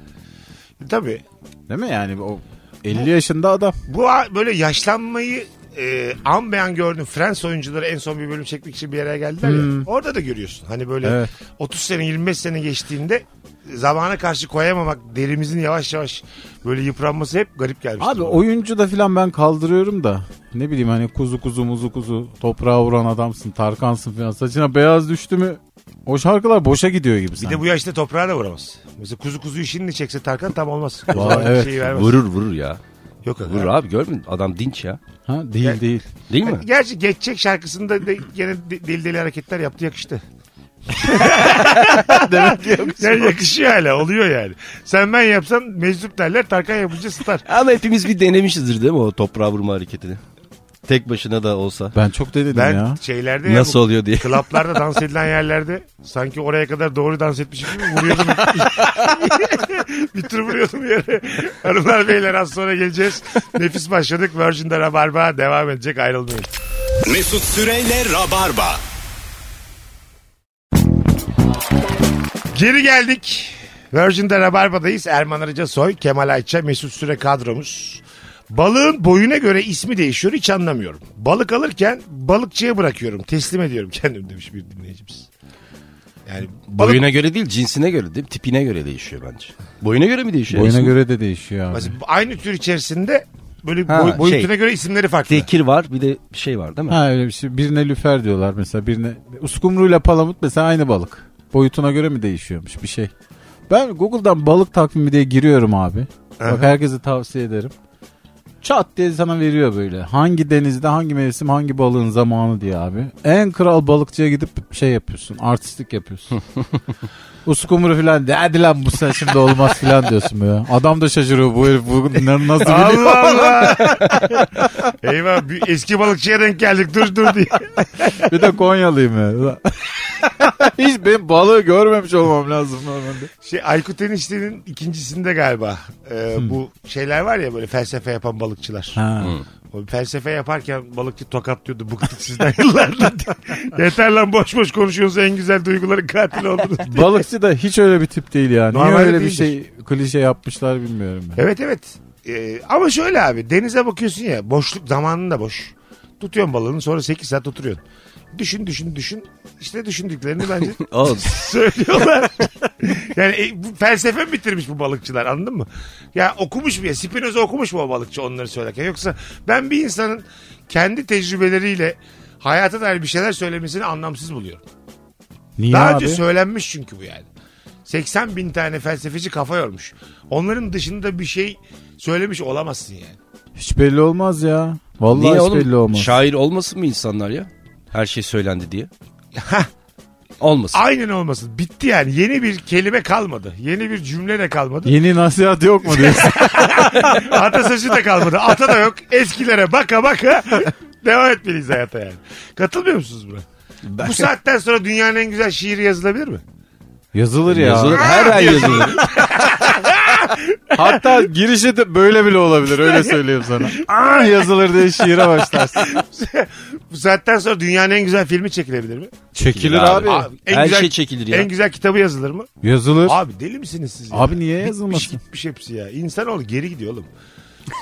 Speaker 3: Tabii.
Speaker 5: Değil mi yani o 50 yaşında adam.
Speaker 3: Bu a- böyle yaşlanmayı e, an be an gördüm. Friends oyuncuları en son bir bölüm çekmek için bir yere geldiler ya.
Speaker 5: Hmm.
Speaker 3: Orada da görüyorsun. Hani böyle
Speaker 5: Evet.
Speaker 3: 30 sene 25 sene geçtiğinde zamana karşı koyamamak derimizin yavaş yavaş böyle yıpranması hep garip gelmişti.
Speaker 5: Abi
Speaker 3: bana.
Speaker 5: oyuncu da filan ben kaldırıyorum da. Ne bileyim hani kuzu kuzu muzu kuzu toprağa vuran adamsın Tarkan'sın filan saçına beyaz düştü mü o şarkılar boşa gidiyor gibi
Speaker 3: Bir
Speaker 5: sanki.
Speaker 3: de bu yaşta toprağa da vuramaz. Mesela kuzu kuzuyu şimdi çekse Tarkan tam olmaz. O
Speaker 5: Vallahi
Speaker 3: zaman
Speaker 5: evet.
Speaker 3: şeyi şey vermez.
Speaker 4: Vurur vurur ya.
Speaker 3: Yok abi.
Speaker 4: Vurur abi görmedin mi? adam dinç ya.
Speaker 5: Ha değil
Speaker 3: Yani-
Speaker 5: değil.
Speaker 4: Değil mi?
Speaker 3: Gerçi geçecek şarkısında de gene de- deli deli hareketler yaptı yakıştı. Demek ki yani yakışıyor hala oluyor yani. Sen ben yapsam meczup derler Tarkan yapınca star.
Speaker 4: Ama hepimiz bir denemişizdir değil mi o toprağa vurma hareketini? Tek başına da olsa.
Speaker 5: Ben çok denedim
Speaker 3: Ben
Speaker 5: ya.
Speaker 3: şeylerde ya
Speaker 4: Nasıl
Speaker 3: bu
Speaker 4: oluyor diye.
Speaker 3: Klaplarda dans edilen yerlerde sanki oraya kadar doğru dans etmişim gibi vuruyordum. bir tur vuruyordum yere. Hanımlar beyler az sonra geleceğiz. Nefis başladık. Virgin'de Rabarba devam edecek ayrılmayın.
Speaker 2: Mesut Süreyle Rabarba.
Speaker 3: Geri geldik. Virgin'de Rabarba'dayız. Erman Arıca Soy, Kemal Ayça, Mesut Süre kadromuz. Balığın boyuna göre ismi değişiyor hiç anlamıyorum. Balık alırken balıkçıya bırakıyorum. Teslim ediyorum kendim demiş bir dinleyicimiz. Yani balık
Speaker 4: Boyuna göre değil cinsine göre değil tipine göre değişiyor bence. Boyuna göre mi
Speaker 3: şey
Speaker 4: değişiyor?
Speaker 5: Boyuna
Speaker 4: İsmi?
Speaker 5: göre de değişiyor abi.
Speaker 3: Mesela aynı tür içerisinde böyle
Speaker 4: Ha,
Speaker 3: boy- boyutuna
Speaker 4: şey.
Speaker 3: göre isimleri farklı.
Speaker 4: Tekir var bir de şey var değil mi?
Speaker 5: Ha öyle bir şey. Birine lüfer diyorlar mesela. Birine uskumruyla palamut mesela aynı balık. Boyutuna göre mi değişiyormuş bir şey. Ben Google'dan balık takvimi diye giriyorum abi. Bak herkese tavsiye ederim. Çat diye sana veriyor böyle. Hangi denizde, hangi mevsim, hangi balığın zamanı diye abi. En kral balıkçıya gidip şey yapıyorsun. Artistlik yapıyorsun. Uskumru falan de hadi lan bu sen şimdi olmaz falan diyorsun böyle. Adam da şaşırıyor bu herif bu bunları nasıl biliyor.
Speaker 3: Allah Allah. Eyvah bir eski balıkçıya denk geldik dur dur diye.
Speaker 5: Bir de Konyalıyım ya. Hiç benim balığı görmemiş olmam lazım normalde.
Speaker 3: Şey, Aykut Enişte'nin ikincisinde galiba e, bu şeyler var ya böyle felsefe yapan balıkçılar.
Speaker 5: Ha.
Speaker 3: O felsefe yaparken balıkçı tokatlıyordu bıktık sizden yıllardır. Yeter lan boş boş konuşuyorsunuz en güzel duyguların katili oldunuz.
Speaker 5: Balıkçı da hiç öyle bir tip değil yani. Niye
Speaker 3: Normalde
Speaker 5: öyle bir
Speaker 3: değildir.
Speaker 5: şey klişe yapmışlar bilmiyorum ben.
Speaker 3: Evet evet. Ee, ama şöyle abi denize bakıyorsun ya boşluk zamanın da boş. Tutuyorsun balığını sonra 8 saat oturuyorsun. Düşün düşün düşün. İşte düşündüklerini bence
Speaker 4: Oğlum,
Speaker 3: söylüyorlar. yani e, bu felsefe mi bitirmiş bu balıkçılar anladın mı? Ya okumuş mu ya Spinoza okumuş mu o balıkçı onları söylerken? Yoksa ben bir insanın kendi tecrübeleriyle hayata dair bir şeyler söylemesini anlamsız buluyorum.
Speaker 5: Niye
Speaker 3: Daha
Speaker 5: abi?
Speaker 3: önce söylenmiş çünkü bu yani. 80 bin tane felsefeci kafa yormuş. Onların dışında bir şey söylemiş olamazsın yani.
Speaker 5: Hiç belli olmaz ya. Vallahi
Speaker 4: niye
Speaker 5: hiç
Speaker 4: oğlum?
Speaker 5: belli olmaz.
Speaker 4: Şair olmasın mı insanlar ya? Her şey söylendi diye. olmasın.
Speaker 3: Aynen olmasın. Bitti yani. Yeni bir kelime kalmadı. Yeni bir cümle de kalmadı.
Speaker 5: Yeni nasihat yok mu diyorsun?
Speaker 3: Atasözü de kalmadı. Ata da yok. Eskilere baka baka devam etmeliyiz hayata yani. Katılmıyor musunuz buna? Bu saatten sonra dünyanın en güzel şiiri yazılabilir mi?
Speaker 5: Yazılır ya.
Speaker 4: Yazılır. Her ay yazılır.
Speaker 5: Hatta girişi de böyle bile olabilir öyle söyleyeyim sana. Aa, yazılır diye şiire başlarsın.
Speaker 3: Bu saatten sonra dünyanın en güzel filmi çekilebilir mi?
Speaker 5: Çekilir abi.
Speaker 3: Abi, en
Speaker 4: Her
Speaker 3: güzel-
Speaker 4: şey çekilir ya.
Speaker 3: En güzel kitabı yazılır mı?
Speaker 5: Yazılır.
Speaker 3: Abi deli misiniz siz? ya?
Speaker 5: Abi niye
Speaker 3: Bitmiş
Speaker 5: yazılmasın?
Speaker 3: gitmiş hepsi ya. İnsanoğlu geri gidiyor oğlum.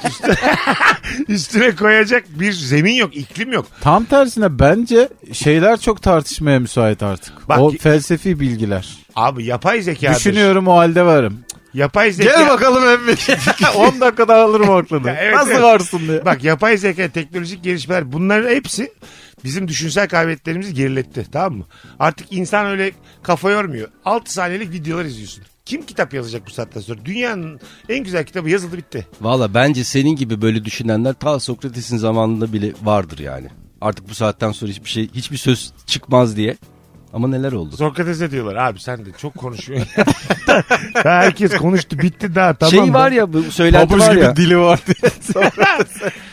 Speaker 3: Üstüne, üstüne koyacak bir zemin yok, iklim yok.
Speaker 5: Tam tersine bence şeyler çok tartışmaya müsait artık.
Speaker 3: Bak-
Speaker 5: o felsefi bilgiler.
Speaker 3: Abi yapay zekadır.
Speaker 5: Düşünüyorum o halde varım.
Speaker 3: Yapay zeka.
Speaker 5: Gel bakalım emmi. 10 dakikada alırım aklını.
Speaker 3: Ya evet,
Speaker 5: Nasıl
Speaker 3: evet.
Speaker 5: varsın diye.
Speaker 3: Bak yapay zeka, teknolojik gelişmeler bunların hepsi bizim düşünsel kabiliyetlerimizi geriletti tamam mı? Artık insan öyle kafa yormuyor. 6 saniyelik videolar izliyorsun. Kim kitap yazacak bu saatten sonra? Dünyanın en güzel kitabı yazıldı bitti.
Speaker 4: Valla bence senin gibi böyle düşünenler ta Sokrates'in zamanında bile vardır yani. Artık bu saatten sonra hiçbir şey, hiçbir söz çıkmaz diye. Ama neler oldu?
Speaker 3: Sokrates'e diyorlar abi sen de çok konuşuyorsun. Daha herkes konuştu bitti daha tamam.
Speaker 4: şey
Speaker 3: da.
Speaker 4: var ya bu söylenti
Speaker 5: Pabuç
Speaker 4: var
Speaker 5: gibi
Speaker 4: ya.
Speaker 5: dili var diye.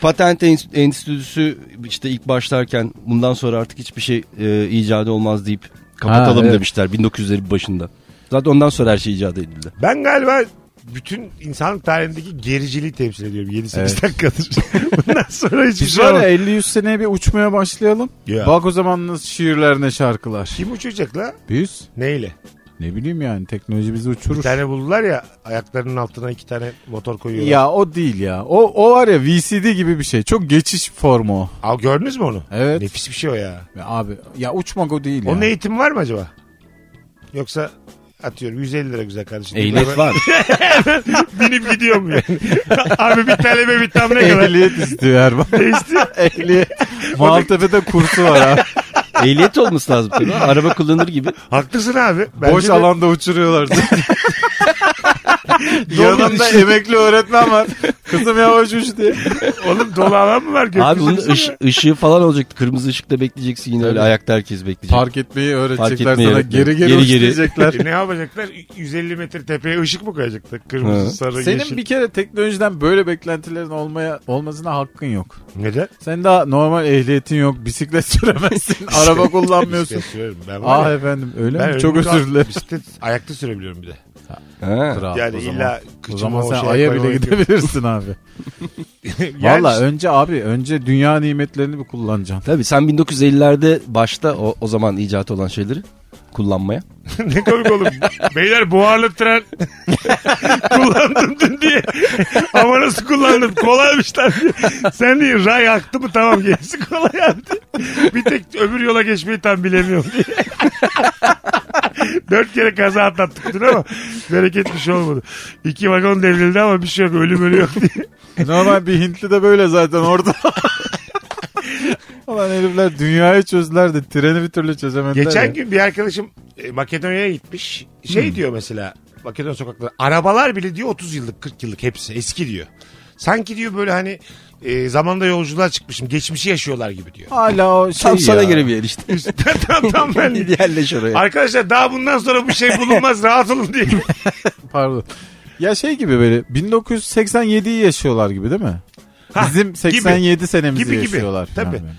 Speaker 4: Patent en- Enstitüsü işte ilk başlarken bundan sonra artık hiçbir şey e, icadı olmaz deyip kapatalım
Speaker 5: Ha, evet.
Speaker 4: demişler 1900'lerin başında. Zaten ondan sonra her şey icat edildi.
Speaker 3: Ben galiba bütün insanlık tarihindeki gericiliği temsil ediyorum 7-8
Speaker 5: Evet.
Speaker 3: dakikadır. Bundan sonra hiçbir
Speaker 5: Biz
Speaker 3: şey
Speaker 5: var
Speaker 3: yok.
Speaker 5: ya 50-100 seneye bir uçmaya başlayalım.
Speaker 3: Ya.
Speaker 5: Bak o zaman nasıl şiirler ne şarkılar.
Speaker 3: Kim uçacak la?
Speaker 5: Biz
Speaker 3: Neyle?
Speaker 5: ne bileyim yani teknoloji bizi
Speaker 3: Bir
Speaker 5: uçurur.
Speaker 3: tane buldular ya ayaklarının altına iki tane motor koyuyorlar.
Speaker 5: Ya o değil ya. O, o var ya VCD gibi bir şey. Çok geçiş formu o.
Speaker 3: Aa, gördünüz mü onu?
Speaker 5: Evet.
Speaker 3: Nefis bir şey o ya.
Speaker 5: Ya Abi ya uçmak o değil
Speaker 3: Onun
Speaker 5: ya.
Speaker 3: eğitimi var mı acaba? Yoksa atıyorum 150 lira güzel kardeşim.
Speaker 4: Ehliyet var.
Speaker 3: Binip gidiyor mu yani? Abi bir tane be bir tam ne kadar?
Speaker 5: Ehliyet istiyor Erman.
Speaker 3: Değişti.
Speaker 5: Ehliyet. Maltepe'de kursu var abi.
Speaker 4: Ehliyet olması lazım tabii. Araba kullanır gibi.
Speaker 3: Haklısın abi. Bence
Speaker 5: Boş
Speaker 3: de-
Speaker 5: alanda uçuruyorlar. Yanında
Speaker 3: Doğru.
Speaker 5: emekli öğretmen var. Kızım yavaş uç diye.
Speaker 3: Oğlum dolu alan mı var gökyüzü?
Speaker 4: Abi bunun
Speaker 3: düşünsene.
Speaker 4: ış- ışığı falan olacaktı. Kırmızı ışıkta bekleyeceksin yine öyle ayakta herkes bekleyecek.
Speaker 5: Park etmeyi öğretecekler
Speaker 4: Park etmeyi
Speaker 5: sana.
Speaker 4: öğretmeyi.
Speaker 5: Geri geri,
Speaker 4: Geri
Speaker 5: uç
Speaker 4: geri.
Speaker 5: diyecekler.
Speaker 3: E ne yapacaklar? 150 metre tepeye ışık mı koyacaklar? Kırmızı,
Speaker 4: Ha.
Speaker 3: sarı, yeşil.
Speaker 5: Senin bir kere teknolojiden böyle beklentilerin olmaya olmasına hakkın yok.
Speaker 3: Neden?
Speaker 5: Sen daha normal ehliyetin yok. Bisiklet süremezsin. araba kullanmıyorsun.
Speaker 3: Bisiklet sürerim. Ben var
Speaker 5: Ah
Speaker 3: ya,
Speaker 5: efendim öyle
Speaker 3: ben
Speaker 5: mi? Çok
Speaker 3: ömrümde
Speaker 5: özür dilerim.
Speaker 3: Bisiklet ayakta sürebiliyorum bir de.
Speaker 4: Ha.
Speaker 5: Kral,
Speaker 3: Yani
Speaker 5: o zaman.
Speaker 3: illa
Speaker 5: O
Speaker 3: kıçıma
Speaker 5: zaman
Speaker 3: o
Speaker 5: sen
Speaker 3: şeye
Speaker 5: Ay'a
Speaker 3: koymaya
Speaker 5: bile
Speaker 3: gerek yok.
Speaker 5: gidebilirsin abi.
Speaker 3: Yani
Speaker 5: Valla
Speaker 3: işte
Speaker 5: önce abi önce dünya nimetlerini bir kullanacaksın.
Speaker 4: Tabii sen 1950'lerde başta o, o zaman icat olan şeyleri kullanmaya.
Speaker 3: ne komik oğlum. Beyler buharlı tren kullandım dün diye. Ama nasıl kullandım? Kolaymış lan diye. Sen diye ray aktı mı tamam gerisi kolay abi. Bir tek öbür yola geçmeyi tam bilemiyorum diye. Dört kere kaza atlattık dün ama bereket bir şey olmadı. İki vagon devrildi ama bir şey yok ölüm ölü yok diye.
Speaker 5: Normal bir Hintli de böyle zaten orada. Ulan herifler dünyayı çözdüler de treni bir türlü çözemediler. ya.
Speaker 3: Geçen gün bir arkadaşım e, Makedonya'ya gitmiş. Şey diyor mesela Makedonya sokakları. Arabalar bile diyor 30 yıllık 40 yıllık hepsi eski diyor. Sanki diyor böyle hani e, zamanda yolculuğa çıkmışım geçmişi yaşıyorlar gibi diyor.
Speaker 5: Hala o şey
Speaker 4: Tam sana
Speaker 5: ya.
Speaker 4: göre bir yer işte.
Speaker 3: tam tam ben
Speaker 4: Yerleş oraya.
Speaker 3: Arkadaşlar daha bundan sonra bu şey bulunmaz rahat olun diye.
Speaker 5: Pardon. Ya şey gibi böyle 1987'yi yaşıyorlar gibi değil mi?
Speaker 3: Ha,
Speaker 5: Bizim 87 senemizi
Speaker 3: Gibi, gibi.
Speaker 5: yaşıyorlar. falan
Speaker 3: Tabii.
Speaker 5: böyle.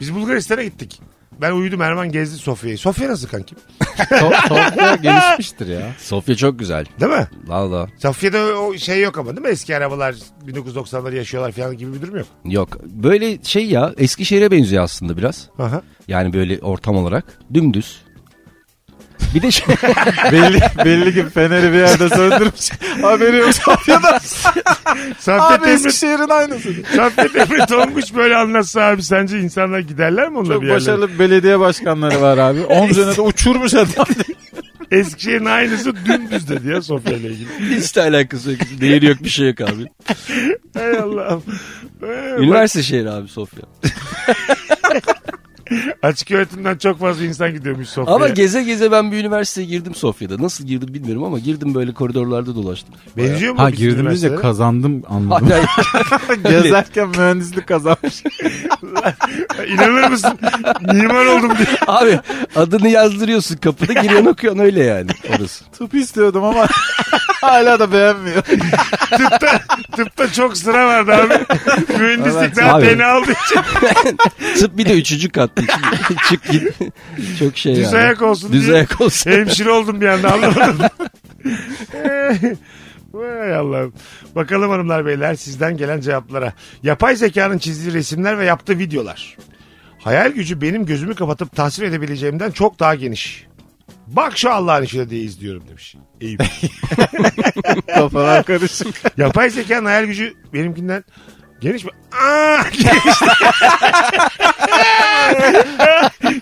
Speaker 3: Biz Bulgaristan'a gittik. Ben uyudum Erman gezdi Sofya'yı. Sofya nasıl kankim?
Speaker 5: To- Tokyo gelişmiştir ya.
Speaker 4: Sofya çok güzel.
Speaker 3: Değil mi?
Speaker 4: Valla.
Speaker 3: Sofya'da o şey yok ama değil mi? Eski arabalar 1990'ları yaşıyorlar falan gibi bir durum yok.
Speaker 4: Yok. Böyle şey ya Eskişehir'e benziyor aslında biraz.
Speaker 3: Aha.
Speaker 4: Yani böyle ortam olarak. Dümdüz. Bir de şey,
Speaker 5: belli, belli ki feneri bir yerde söndürmüş. Haberi yok Sofya'da.
Speaker 3: Safet
Speaker 5: Abi
Speaker 3: Emre
Speaker 5: Eskişehir'in aynısı.
Speaker 3: Saffet Emre Tonguç böyle anlatsa abi sence insanlar giderler mi onunla
Speaker 5: Çok
Speaker 3: bir yerlere?
Speaker 5: başarılı belediye başkanları var abi. 10 senede uçurmuş adam.
Speaker 3: Eskişehir'in aynısı dümdüz dedi ya Sofya ile ilgili.
Speaker 4: hiç de alakası yok. Değeri yok bir şey yok abi.
Speaker 3: Hay Allah'ım. Ee, bak,
Speaker 4: Üniversite şehri abi Sofya.
Speaker 3: açık öğretimden çok fazla insan gidiyormuş Sofya'ya.
Speaker 4: Ama geze geze ben bir üniversiteye girdim Sofya'da. Nasıl girdim bilmiyorum ama girdim böyle koridorlarda dolaştım.
Speaker 3: Benziyor mu?
Speaker 5: Ha
Speaker 3: bizim
Speaker 5: girdim deyince
Speaker 3: üniversitelere?
Speaker 5: kazandım anladım.
Speaker 4: Hala
Speaker 5: Hani Gezerken mühendislik kazanmış.
Speaker 3: İnanır mısın? Mimar oldum diye.
Speaker 4: Abi adını yazdırıyorsun kapıda giriyorsun okuyorsun öyle yani orası.
Speaker 5: Tıp istiyordum ama hala da beğenmiyor.
Speaker 3: Tıpta, tıpta çok sıra vardı abi. Mühendislik daha
Speaker 4: Abi.
Speaker 3: teni aldığı için.
Speaker 4: Tıp bir de üçüncü kattı. Şimdi Çık git. Çok şey
Speaker 3: Düz
Speaker 4: yani.
Speaker 3: ayak olsun
Speaker 4: Düz
Speaker 3: diye. şey
Speaker 4: ayak olsun.
Speaker 3: Hemşire oldum bir anda anlamadım. Ee, Vay Allah'ım. Bakalım hanımlar beyler sizden gelen cevaplara. Yapay zekanın çizdiği resimler ve yaptığı videolar. Hayal gücü benim gözümü kapatıp tasvir edebileceğimden çok daha geniş. Bak şu Allah'ın işine diye izliyorum demiş. Eyüp.
Speaker 5: Kafalar karışık.
Speaker 3: Yapay zekanın hayal gücü benimkinden geniş mi? Aa, geniş.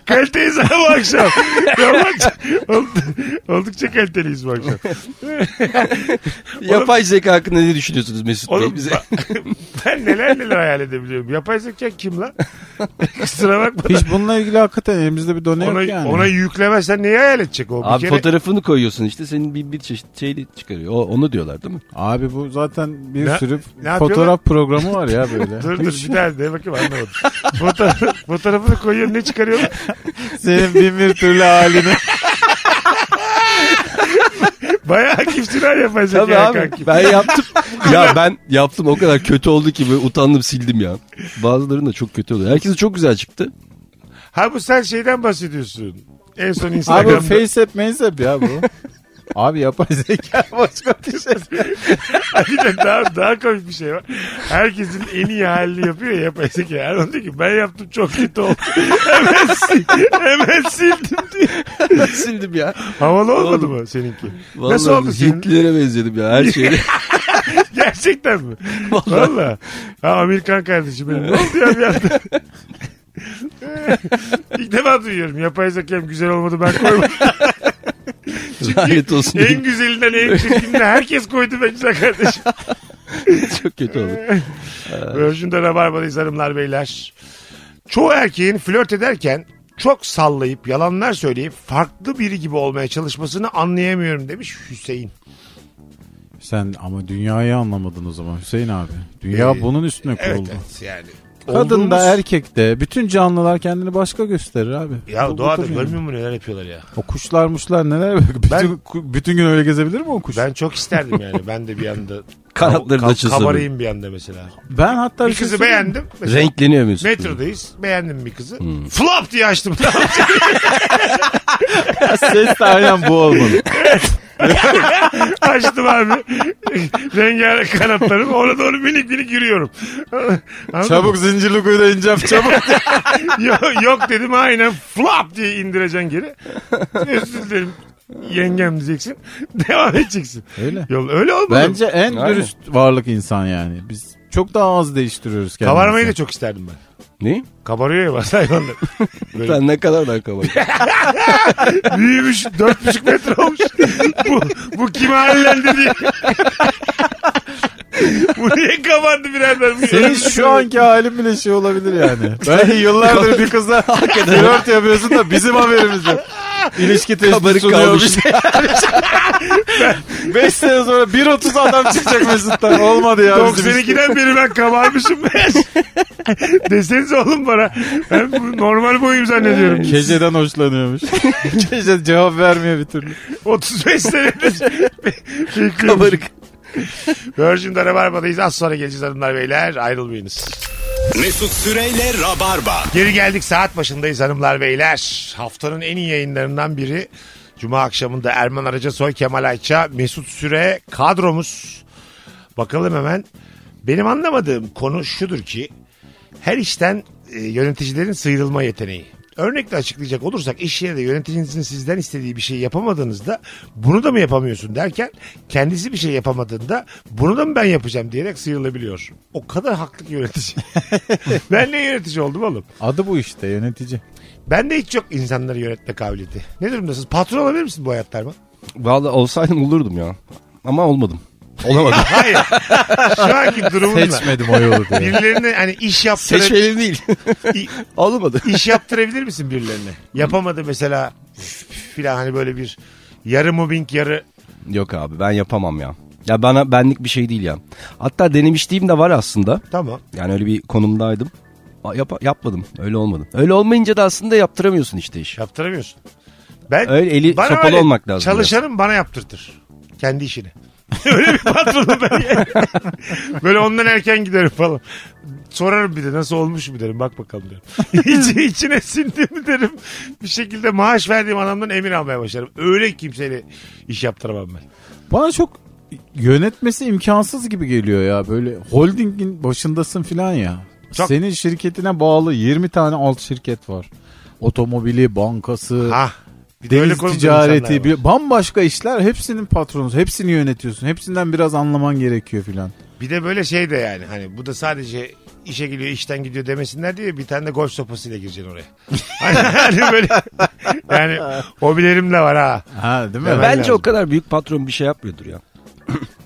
Speaker 3: Kaliteyiz ha bu akşam. Ya bu akşam- Old- Oldukça kaliteliyiz bu akşam.
Speaker 4: Yapay zeka hakkında ne düşünüyorsunuz Mesut
Speaker 3: Oğlum
Speaker 4: Bey? Bize
Speaker 3: ben- ben neler neler hayal edebiliyorum. Yapay zeka kim lan? Kusura bakma. da.
Speaker 5: Hiç bununla ilgili hakikaten elimizde bir done
Speaker 3: Ona,
Speaker 5: yok yani.
Speaker 3: ona yüklemezsen neyi hayal edecek o?
Speaker 4: Abi
Speaker 3: bir kere
Speaker 4: fotoğrafını koyuyorsun işte senin bir, bir çeşit şeyle çıkarıyor. O, onu diyorlar değil mi?
Speaker 5: Abi bu zaten bir
Speaker 3: Ne-
Speaker 5: sürü
Speaker 3: ne yapıyorlar?
Speaker 5: fotoğraf programı var ya böyle.
Speaker 3: Dur dur bir daha de bakayım anlamadım. Fotoğraf, fotoğrafını koyuyor ne çıkarıyor?
Speaker 5: Senin bin bir türlü halini.
Speaker 3: Bayağı kimsin ha yapay zeka
Speaker 4: Tabii abi
Speaker 3: kanki.
Speaker 4: ben yaptım. ya ben yaptım o kadar kötü oldu ki böyle utandım sildim ya. Bazılarının da çok kötü oluyor. Herkesi çok güzel çıktı.
Speaker 3: Ha bu sen şeyden bahsediyorsun. En son
Speaker 5: Abi
Speaker 3: Instagram'da.
Speaker 5: FaceApp meysep ya bu. Abi yapay zeka başka bir şey.
Speaker 3: bir de daha, daha komik bir şey var. Herkesin en iyi halini yapıyor ya yapay zeka. Erman diyor ki ben yaptım çok kötü oldu. hemen, sil- hemen sildim diyor.
Speaker 4: sildim ya.
Speaker 3: Havalı olmadı mı seninki?
Speaker 4: Vallahi
Speaker 3: Nasıl oldu senin?
Speaker 4: Hitlilere benzedim ya her şeyi.
Speaker 3: Gerçekten mi? Valla. Ha Amerikan kardeşim benim. Ne oldu ya bir anda? İlk defa duyuyorum. Yapay zekam güzel olmadı ben koymadım.
Speaker 4: Lanet olsun.
Speaker 3: en
Speaker 4: dedim.
Speaker 3: güzelinden en çirkininden herkes koydu be güzel kardeşim.
Speaker 4: çok kötü oldu.
Speaker 3: Virgin'de Rabarba'dayız hanımlar beyler. Çoğu erkeğin flört ederken çok sallayıp yalanlar söyleyip farklı biri gibi olmaya çalışmasını anlayamıyorum demiş Hüseyin.
Speaker 5: Sen ama dünyayı anlamadın o zaman Hüseyin abi. Dünya
Speaker 3: Ee,
Speaker 5: bunun üstüne
Speaker 3: Evet,
Speaker 5: kuruldu.
Speaker 3: evet yani.
Speaker 5: Kadın da
Speaker 3: Olduğumuz-
Speaker 5: erkek de bütün canlılar kendini başka gösterir abi.
Speaker 3: Ya
Speaker 5: Bu- bu
Speaker 3: doğada
Speaker 5: tabii
Speaker 3: görmüyor
Speaker 5: yani.
Speaker 3: musun neler yapıyorlar ya?
Speaker 5: O kuşlar muşlar neler bütün, ku- bütün gün öyle gezebilir mi o kuş? Ben,
Speaker 3: Ben çok isterdim yani. Ben de bir anda
Speaker 4: Kanatları da
Speaker 3: kab-
Speaker 4: açılsa
Speaker 3: kabarayım bir anda mesela.
Speaker 5: hatta
Speaker 3: Bir
Speaker 5: şey
Speaker 3: kızı
Speaker 5: söyleyeyim.
Speaker 3: beğendim. Mesela
Speaker 4: Renkleniyor Mesut.
Speaker 3: Metrodayız. Beğendim bir kızı.
Speaker 5: Hmm.
Speaker 3: Flop diye açtım. Tamam.
Speaker 5: Ses de aynen bu olmalı.
Speaker 3: açtım abi. Rengarenk kanatlarım. Ona doğru minik minik yürüyorum. Anladın
Speaker 5: Çabuk zincirli kuyuda ineceğim çabuk.
Speaker 3: mı? yok, yok dedim aynen flop diye indireceksin geri. Özür dilerim. Yengem diyeceksin. Devam edeceksin.
Speaker 5: Öyle.
Speaker 3: Yol öyle olmadı.
Speaker 5: Bence en
Speaker 4: Aynen.
Speaker 5: dürüst varlık insan yani. Biz çok daha az değiştiriyoruz kendimizi.
Speaker 3: Kabarmayı da çok isterdim ben.
Speaker 4: Ne?
Speaker 3: Kabarıyor ya bazı hayvanlar. Böyle
Speaker 4: Ben ne kadar daha kabarayım.
Speaker 3: büyümüş. Dört buçuk metre olmuş. bu, bu kimi hallendi diye. bu niye kabardı birader? Bu
Speaker 5: Senin şu anki halin bile şey olabilir yani. Belki yıllardır bir kızla flört yapıyorsun da bizim haberimiz yok. İlişki testi
Speaker 4: Kabarık
Speaker 5: sunuyor.
Speaker 4: kalmış.
Speaker 5: 5 sene sonra 1.30 adam çıkacak Mesut'tan. Olmadı ya. bizim işte.
Speaker 3: 92'den beri ben kabarmışım. Deseniz oğlum bana. Ben bu normal boyum zannediyorum.
Speaker 5: Keceden hoşlanıyormuş. Kece cevap vermiyor bir türlü.
Speaker 3: 35 senedir bekliyorum.
Speaker 4: Kabarık.
Speaker 3: Virgin'de Rabarba'dayız. Az sonra geleceğiz hanımlar beyler. Ayrılmayınız.
Speaker 2: Mesut Süreyle Rabarba.
Speaker 3: Geri geldik saat başındayız hanımlar beyler. Haftanın en iyi yayınlarından biri. Cuma akşamında Erman Araca Soy, Kemal Ayça, Mesut Süre kadromuz. Bakalım hemen. Benim anlamadığım konu şudur ki her işten e, yöneticilerin sıyrılma yeteneği. Örnekle açıklayacak olursak iş yerinde yöneticinizin sizden istediği bir şey yapamadığınızda bunu da mı yapamıyorsun derken kendisi bir şey yapamadığında bunu da mı ben yapacağım diyerek sıyrılabiliyor. O kadar haklı ki yönetici. ben ne yönetici oldum oğlum?
Speaker 5: Adı bu işte yönetici.
Speaker 3: Ben de hiç yok insanları yönetme kabiliyeti. Ne durumdasınız? Patron olabilir misin bu hayatta Erman?
Speaker 4: Valla olsaydım olurdum ya. Ama olmadım. Olamadım.
Speaker 3: Hayır. Şu anki durumunla.
Speaker 5: Seçmedim o yolu diye.
Speaker 3: Birilerine hani iş yaptırır.
Speaker 4: Seçmeli değil. Olmadı.
Speaker 3: iş yaptırabilir misin birilerine? Yapamadı mesela filan hani böyle bir yarı mobbing yarı
Speaker 4: Yok abi ben yapamam ya. Ya bana benlik bir şey değil ya. Hatta denemişliğim de var aslında.
Speaker 3: tamam.
Speaker 4: Yani öyle bir konumdaydım. A- yapa- yapmadım. Öyle olmadı. Öyle olmayınca da aslında yaptıramıyorsun işte işi.
Speaker 3: Yaptıramıyorsun. Ben
Speaker 4: Öyle eli sopalı
Speaker 3: öyle
Speaker 4: olmak lazım
Speaker 3: Çalışanım bana yaptırtır. Kendi işini. Öyle bir patronum ben. ya. Böyle ondan erken giderim falan. Sorarım bir de nasıl olmuş mu derim bak bakalım derim. İç, içine sindi mi derim. Bir şekilde maaş verdiğim adamdan emin almaya başlarım. Öyle kimseyle iş yaptıramam ben.
Speaker 5: Bana çok yönetmesi imkansız gibi geliyor ya. Böyle holdingin başındasın filan ya.
Speaker 3: Çok-
Speaker 5: Senin şirketine bağlı 20 tane alt şirket var. Otomobili, bankası,
Speaker 3: Ha. Ah, Öyle
Speaker 5: deniz
Speaker 3: konumda insanlar var.
Speaker 5: ticareti, bir- bambaşka işler. Hepsinin patronu, hepsini yönetiyorsun. Hepsinden biraz anlaman gerekiyor filan.
Speaker 3: Bir de böyle şey de yani hani bu da sadece işe geliyor işten gidiyor demesinler diye bir tane de golf sopasıyla gireceksin oraya. hani böyle yani hobilerim de var ha.
Speaker 5: Ha değil mi?
Speaker 3: Evet.
Speaker 4: Bence
Speaker 3: lazım.
Speaker 4: o kadar büyük patron bir şey yapmıyordur ya.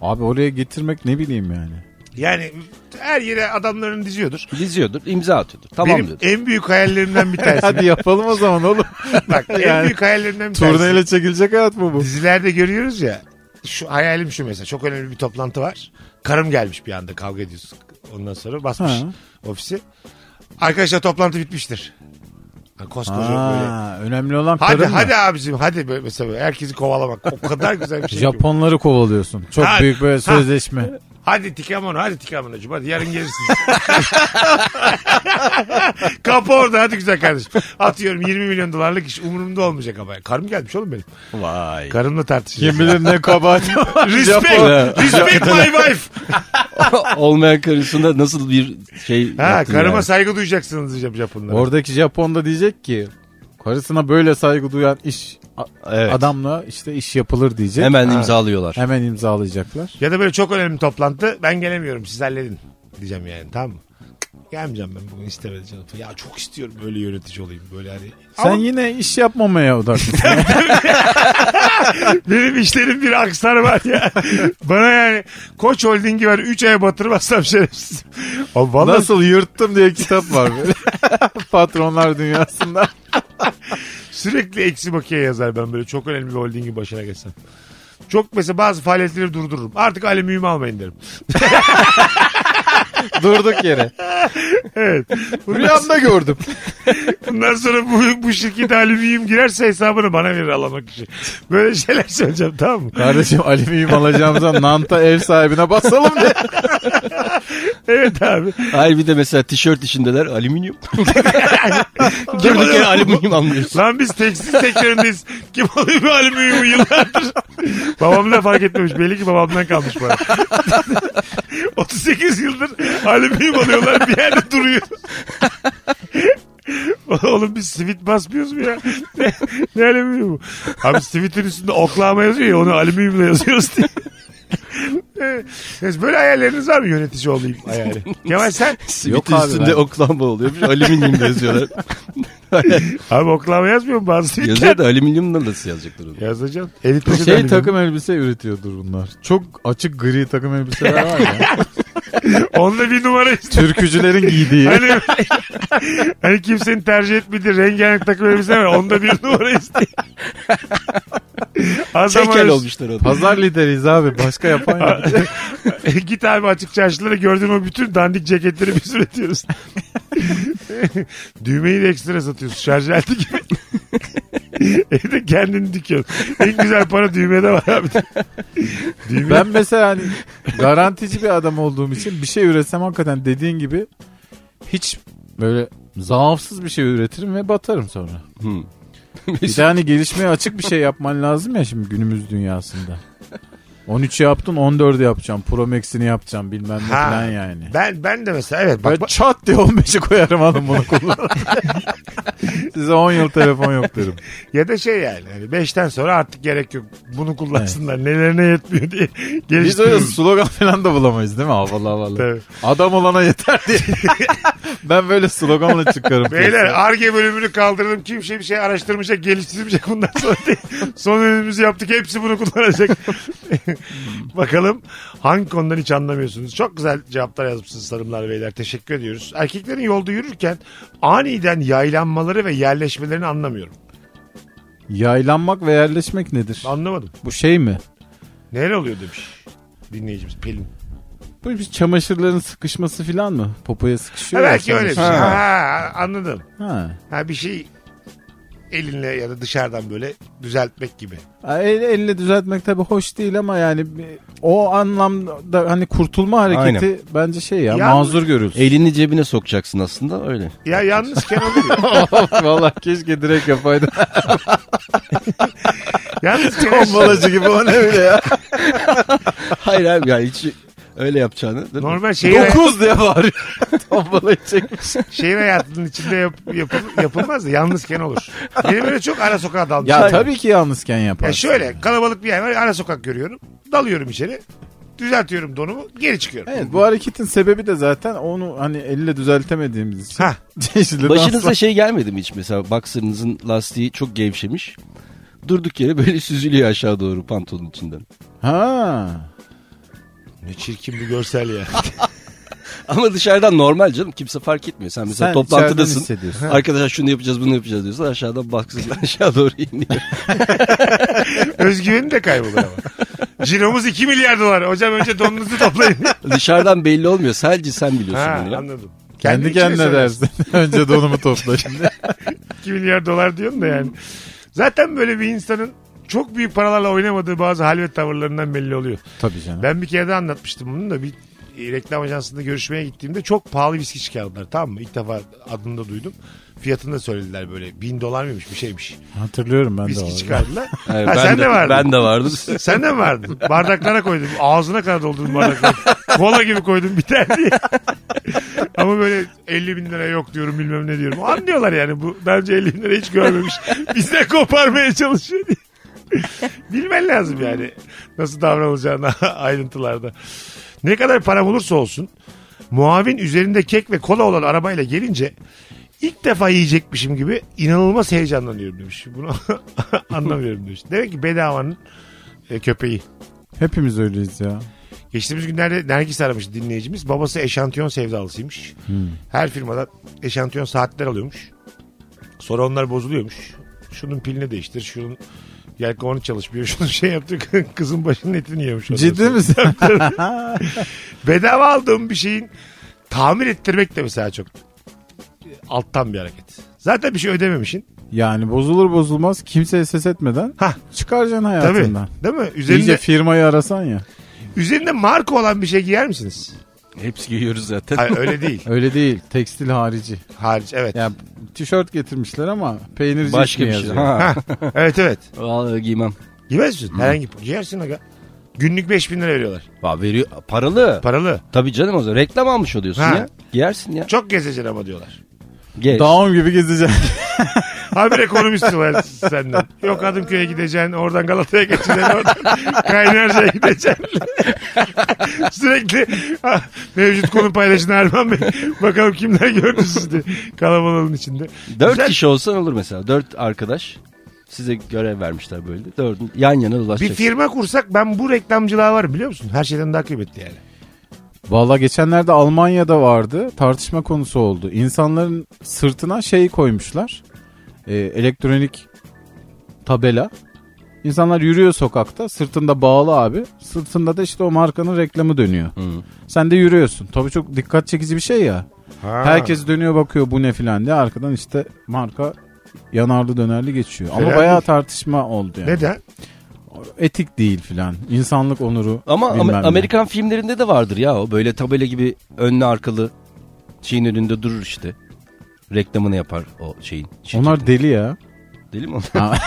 Speaker 5: Abi oraya getirmek ne bileyim yani.
Speaker 3: Yani her yere adamlarını diziyordur.
Speaker 4: Diziyordur, imza atıyordur. Tamam
Speaker 3: Benim
Speaker 4: diyordur.
Speaker 3: en büyük hayallerimden bir tanesi.
Speaker 5: Hadi yapalım o zaman oğlum.
Speaker 3: Bak en
Speaker 5: Yani
Speaker 3: büyük hayallerimden bir tanesi.
Speaker 5: Turnayla çekilecek hayat mı bu?
Speaker 3: Dizilerde görüyoruz ya. Şu hayalim şu mesela. Çok önemli bir toplantı var. Karım gelmiş bir anda kavga ediyoruz. Ondan sonra basmış
Speaker 5: Ha.
Speaker 3: ofisi. Arkadaşlar toplantı bitmiştir. Ha, Koskoca böyle.
Speaker 5: Ha, önemli olan
Speaker 3: Hadi
Speaker 5: karın mı?
Speaker 3: hadi abicim hadi böyle mesela böyle herkesi kovalamak. O kadar güzel bir şey. ki.
Speaker 5: Japonları kovalıyorsun. Çok
Speaker 3: Ha,
Speaker 5: büyük böyle
Speaker 3: ha.
Speaker 5: sözleşme.
Speaker 3: Hadi tikamono hadi tikamonocum hadi yarın gelirsin. Kapı orada hadi güzel kardeşim. Atıyorum 20 milyon dolarlık iş umurumda olmayacak ama. Karım gelmiş oğlum benim.
Speaker 4: Vay.
Speaker 3: Karımla
Speaker 5: Kim
Speaker 3: tartışacağız.
Speaker 5: bilir ne kabahat var. Japon.
Speaker 3: Respect, respect my wife.
Speaker 4: Olmayan karısında nasıl bir şey
Speaker 3: Ha,
Speaker 4: yaptın
Speaker 3: karıma
Speaker 4: yani?
Speaker 3: saygı duyacaksınız diyeceğim Japonlara.
Speaker 5: Oradaki Japon da diyecek ki karısına böyle saygı duyan iş a-
Speaker 4: Evet.
Speaker 5: adamla işte iş yapılır diyecek.
Speaker 4: Hemen
Speaker 5: Ha.
Speaker 4: imzalıyorlar.
Speaker 5: Hemen imzalayacaklar.
Speaker 3: Ya da böyle çok önemli toplantı ben gelemiyorum siz halledin diyeceğim yani tamam mı? Gelmeyeceğim ben bugün istemedi canım. Ya çok istiyorum böyle yönetici olayım böyle hani.
Speaker 5: Sen
Speaker 3: Ama
Speaker 5: yine iş yapmamaya odaklısın.
Speaker 3: benim işlerim bir aksar var ya. Bana yani koç holdingi ver 3 aya batırmazsam şerefsiz. Abi vallahi
Speaker 5: Nasıl yırttım diye kitap var böyle. Patronlar dünyasında.
Speaker 3: sürekli eksi bakiye yazar ben böyle çok önemli bir holdingi başına geçsem. Çok mesela bazı faaliyetleri durdururum. Artık alüminyum almayın derim.
Speaker 5: Durduk yere.
Speaker 3: Evet.
Speaker 5: Rüyamda gördüm.
Speaker 3: Bundan sonra bu, bu şirkete alüminyum girerse hesabını bana verir alamak için. Böyle şeyler söyleyeceğim tamam mı?
Speaker 5: Kardeşim alüminyum alacağımıza Nant'a ev sahibine basalım diye.
Speaker 3: Evet abi.
Speaker 4: Hayır bir de mesela tişört işindeler alüminyum. Durduk yere alüminyum almıyorsun.
Speaker 3: Lan biz tekstil sektöründeyiz. Kim alıyor bu alüminyumu yıllardır? Babam da fark etmemiş. Belli ki babamdan kalmış bana. 38 yıldır alüminyum alıyorlar bir yerde duruyor. Oğlum biz sivit basmıyoruz mu ya? Ne, ne alüminyumu? Abi sivitin üstünde oklama yazıyor ya onu alüminyumla yazıyoruz diye. Siz böyle hayalleriniz var mı yönetici olayım hayali? Kemal sen?
Speaker 4: Simitin
Speaker 5: abi,
Speaker 4: üstünde
Speaker 5: ben-
Speaker 4: oklama oluyormuş. Alüminyum da yazıyorlar.
Speaker 3: Abi oklama yazmıyor mu bazı sivitler?
Speaker 4: Yazıyor da alüminyumla nasıl yazacaklar onu?
Speaker 3: Yazacağım. Editmesi de
Speaker 5: Şey
Speaker 3: alüminyum.
Speaker 5: takım elbise üretiyordur bunlar. Çok açık gri takım elbiseler var ya.
Speaker 3: Onda bir numara işte.
Speaker 5: Türkücülerin giydiği.
Speaker 3: Hani, hani kimsenin tercih etmediği rengarenk takım elbise var. Onda bir numara isteyin. Adam
Speaker 4: Tekel
Speaker 3: arası-
Speaker 4: olmuşlar onlar.
Speaker 5: Pazar lideriyiz abi. Başka yapan yok.
Speaker 3: Git abi açık çarşılara gördüğün o bütün dandik ceketleri biz üretiyoruz. Düğmeyi de ekstra satıyorsun. Şarj aleti gibi. Evde kendini dikiyorsun. En güzel para düğmede var abi. Düğme...
Speaker 5: Ben mesela hani garantici bir adam olduğum için bir şey üretsem hakikaten dediğin gibi hiç böyle zaafsız bir şey üretirim ve batarım sonra. Bir de hani gelişmeye açık bir şey yapman lazım ya şimdi günümüz dünyasında. 13'ü yaptın 14'ü yapacağım. Pro Max'ini yapacağım bilmem ne
Speaker 3: Ha.
Speaker 5: falan yani.
Speaker 3: Ben, ben de mesela evet. Bak,
Speaker 5: Böyle çat diye 15'i koyarım hanım bunu kullan. Size 10 yıl telefon yok derim.
Speaker 3: Ya da şey yani hani 5'ten sonra artık gerek yok. Bunu kullansınlar. Nelerine yetmiyor diye.
Speaker 5: Biz öyle slogan falan da bulamayız değil mi? Havalı havalı.
Speaker 3: Tabii.
Speaker 5: Adam olana yeter diye. ben böyle sloganla çıkarım.
Speaker 3: Beyler ARGE bölümünü kaldırdım. Kimse bir şey araştırmayacak, geliştirmeyecek bundan sonra diye. Son önümüzü yaptık. Hepsi bunu kullanacak. Bakalım hangi konudan hiç anlamıyorsunuz. Çok güzel cevaplar yazmışsınız sarımlar beyler. Teşekkür ediyoruz. Erkeklerin yolda yürürken aniden yaylanmaları ve yerleşmelerini anlamıyorum.
Speaker 5: Yaylanmak ve yerleşmek nedir?
Speaker 3: Anlamadım.
Speaker 5: Bu şey mi?
Speaker 3: Neler oluyor demiş dinleyicimiz Pelin.
Speaker 5: Bu bir çamaşırların sıkışması falan mı? Popoya
Speaker 3: Ha,
Speaker 5: sıkışıyor. ya
Speaker 3: belki öyle bir şey.
Speaker 5: çamaşır.
Speaker 3: Ha,
Speaker 5: Ha.
Speaker 3: ha, anladım.
Speaker 5: Ha.
Speaker 3: Ha bir şey elinle ya da dışarıdan böyle düzeltmek gibi.
Speaker 5: Ha, El, elle düzeltmek tabii hoş değil ama yani bir- o anlamda hani kurtulma hareketi bence şey ya,
Speaker 3: Yalnız-
Speaker 5: mazur görülsün.
Speaker 4: Elini cebine sokacaksın aslında öyle.
Speaker 3: Ya yalnızken oluyor.
Speaker 5: Vallahi keşke direkt yapaydım.
Speaker 3: yalnızken
Speaker 5: gibi o ne öyle ya.
Speaker 4: Hayır abi ya hiç öyle yapacağını. değil mi?
Speaker 3: normal
Speaker 5: şey
Speaker 3: şey şehir,
Speaker 5: 9 diye bağırıyor. Tombalayı çekmiş.
Speaker 3: şehir şey hayatının içinde yap, yapıl- yapılmaz da yalnızken olur. Benim öyle çok ara sokağa dalmışım.
Speaker 5: Ya tabii ki yalnızken yapar.
Speaker 3: Ya şöyle kalabalık bir yer var ara sokak görüyorum. Dalıyorum içeri. Düzeltiyorum donumu geri çıkıyorum.
Speaker 5: Evet bu hareketin sebebi de zaten onu hani elle düzeltemediğimiz için.
Speaker 3: Hah.
Speaker 5: Çeşitli danslar-
Speaker 4: Başınıza şey gelmedi mi hiç mesela boxer'ınızın lastiği çok gevşemiş. Durduk yere böyle süzülüyor aşağı doğru pantolonun içinden.
Speaker 5: Ha.
Speaker 3: Ne çirkin bir görsel ya.
Speaker 4: Ama dışarıdan normal canım kimse fark etmiyor. Sen mesela
Speaker 5: Sen içeriden
Speaker 4: toplantıdasın.
Speaker 5: hissediyorsun.
Speaker 4: Arkadaşlar şunu yapacağız bunu yapacağız diyorsun. Aşağıdan boxer'ın aşağı doğru iniyor.
Speaker 3: Özgüveni de kaybolur ama. Ciromuz 2 milyar dolar. Hocam önce donunuzu toplayın.
Speaker 4: Dışarıdan belli olmuyor. Sadece sen biliyorsun
Speaker 3: ha,
Speaker 4: bunu.
Speaker 3: anladım.
Speaker 5: Kendi
Speaker 3: içine
Speaker 5: kendine
Speaker 3: söylersin.
Speaker 5: dersin. Önce donumu topla şimdi.
Speaker 3: 2 milyar dolar diyorsun da yani. Zaten böyle bir insanın çok büyük paralarla oynamadığı bazı halvet tavırlarından belli oluyor.
Speaker 5: Tabii canım.
Speaker 3: Ben bir kere de anlatmıştım bunu da bir e, reklam ajansında görüşmeye gittiğimde çok pahalı viski çıkardılar tamam mı? İlk defa adını da duydum. Fiyatını da söylediler böyle. Bin dolar mıymış bir şeymiş.
Speaker 5: Hatırlıyorum ben de.
Speaker 3: Viski
Speaker 5: o arada.
Speaker 3: çıkardılar.
Speaker 4: Evet,
Speaker 3: ha,
Speaker 4: ben
Speaker 3: sen de,
Speaker 4: de,
Speaker 3: vardın.
Speaker 4: Ben de vardım.
Speaker 3: Sen de mi vardın? Bardaklara koydum. Ağzına kadar doldurdum bardakları. Kola gibi koydum biter diye. Ama böyle 50 bin lira yok diyorum bilmem ne diyorum. Anlıyorlar yani bu. Daha önce 50 bin lira hiç görmemiş. Bizden koparmaya çalışıyor diye. Bilmen lazım yani. Nasıl davranılacağını ayrıntılarda. Ne kadar para olursa olsun muavin üzerinde kek ve kola olan arabayla gelince ilk defa yiyecekmişim gibi inanılmaz heyecanlanıyorum demiş. Bunu anlamıyorum demiş. Demek ki bedavanın e, köpeği.
Speaker 5: Hepimiz öyleyiz ya.
Speaker 3: Geçtiğimiz günlerde Nergis aramış dinleyicimiz. Babası eşantiyon sevdalısıymış.
Speaker 5: Hmm.
Speaker 3: Her firmadan eşantiyon saatler alıyormuş. Sonra onlar bozuluyormuş. Şunun pilini değiştir, şunun Yelkovanı çalışmıyor. Şunu şey yaptı. Kızın başının etini yemiş. ondan
Speaker 5: Ciddi
Speaker 3: sonra.
Speaker 5: misin?
Speaker 3: Bedava aldığım bir şeyin tamir ettirmek de mesela çok alttan bir hareket. Zaten bir şey ödememişsin.
Speaker 5: yani bozulur bozulmaz kimseye ses etmeden
Speaker 3: Hah.
Speaker 5: çıkaracaksın
Speaker 3: Tabii.
Speaker 5: hayatından.
Speaker 3: Değil mi? Üzerinde,
Speaker 5: İyice firmayı arasan ya.
Speaker 3: üzerinde marka olan bir şey giyer misiniz?
Speaker 4: Hepsi giyiyoruz zaten.
Speaker 3: Hayır öyle değil.
Speaker 5: Öyle değil. Tekstil harici.
Speaker 3: Hariç evet.
Speaker 5: Ya tişört getirmişler ama peynirci
Speaker 4: Başka
Speaker 5: ismi
Speaker 4: bir şey.
Speaker 5: yazıyor.
Speaker 4: Ha.
Speaker 3: Evet evet.
Speaker 4: Vallahi giymem.
Speaker 3: Giymez misin? Herhangi giyersin aga. Günlük 5000 lira veriyorlar.
Speaker 4: Va veriyor paralı.
Speaker 3: Paralı.
Speaker 4: Tabii canım o zaman reklam almış oluyorsun
Speaker 3: Ha.
Speaker 4: ya. Giyersin ya.
Speaker 3: Çok gezeceksin ama diyorlar.
Speaker 4: Geç.
Speaker 5: Dağım gibi gezeceksin.
Speaker 3: Habire ekonomist var senden. Yok Adımköy'e gideceksin, oradan Galata'ya geçeceksin, oradan Kaynarca'ya gideceksin. Sürekli ah, mevcut konu paylaşın Erman Bey. Bakalım kimler gördü sizi kalabalığın içinde.
Speaker 4: Dört
Speaker 3: Güzel.
Speaker 4: kişi olsan olur mesela. Dört arkadaş. Size görev vermişler böyle. Dördün yan yana
Speaker 3: Bir
Speaker 4: dolaşacaksın.
Speaker 3: firma kursak ben bu reklamcılığa var biliyor musun? Her şeyden daha kıymetli yani.
Speaker 5: Valla geçenlerde Almanya'da vardı. Tartışma konusu oldu. İnsanların sırtına şey koymuşlar. Ee, elektronik tabela. İnsanlar yürüyor sokakta. Sırtında bağlı abi. Sırtında da işte o markanın reklamı dönüyor. Sen de yürüyorsun. Tabii çok dikkat çekici bir şey ya. Herkes dönüyor bakıyor bu ne filan diye. Arkadan işte marka yanarlı dönerli geçiyor.
Speaker 3: Fena
Speaker 5: Ama bayağı
Speaker 3: değil.
Speaker 5: tartışma oldu yani.
Speaker 3: Neden?
Speaker 5: Etik değil filan. İnsanlık onuru.
Speaker 4: Ama Am-
Speaker 5: bilmem ne.
Speaker 4: Amerikan filmlerinde de vardır ya o. Böyle tabela gibi önlü arkalı şeyin önünde durur işte. Reklamını yapar o şeyin. şirketin.
Speaker 5: Onlar deli ya.
Speaker 4: Deli mi onlar?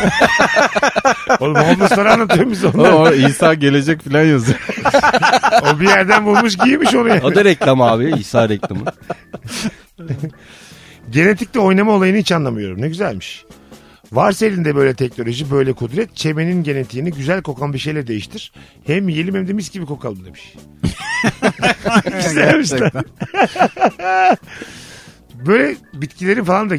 Speaker 3: Oğlum homeless'lara anlatıyor biz
Speaker 5: O,
Speaker 3: onu.
Speaker 5: o İsa gelecek filan yazıyor.
Speaker 3: O bir yerden bulmuş giymiş onu yani.
Speaker 4: O da reklam abi. İsa reklamı.
Speaker 3: Genetikte oynama olayını hiç anlamıyorum. Ne güzelmiş. Varsa elinde böyle teknoloji, böyle kudret, çemenin genetiğini güzel kokan bir şeyle değiştir. Hem yiyelim hem de mis gibi kokalım demiş. Güzelmiş lan. böyle bitkilerin falan da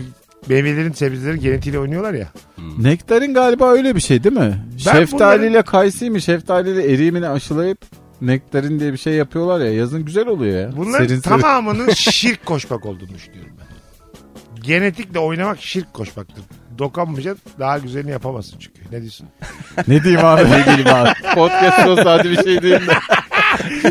Speaker 3: meyvelerin, sebzelerin genetiğiyle oynuyorlar ya.
Speaker 5: Hmm. Nektarin galiba öyle bir şey değil mi? şeftaliyle kayısı mı şeftaliyle eriği mi aşılayıp nektarin diye bir şey yapıyorlar ya yazın güzel oluyor ya.
Speaker 3: Bunların
Speaker 5: Serin serin.
Speaker 3: tamamının şirk koşmak olduğunu düşünüyorum ben. Genetikle oynamak şirk koşmaktır. Dokanmayacaksın daha güzelini yapamazsın çünkü. Ne diyorsun?
Speaker 5: Ne diyeyim abi ne diyeyim abi. Podcast o saati bir şey değil de.
Speaker 3: Yayında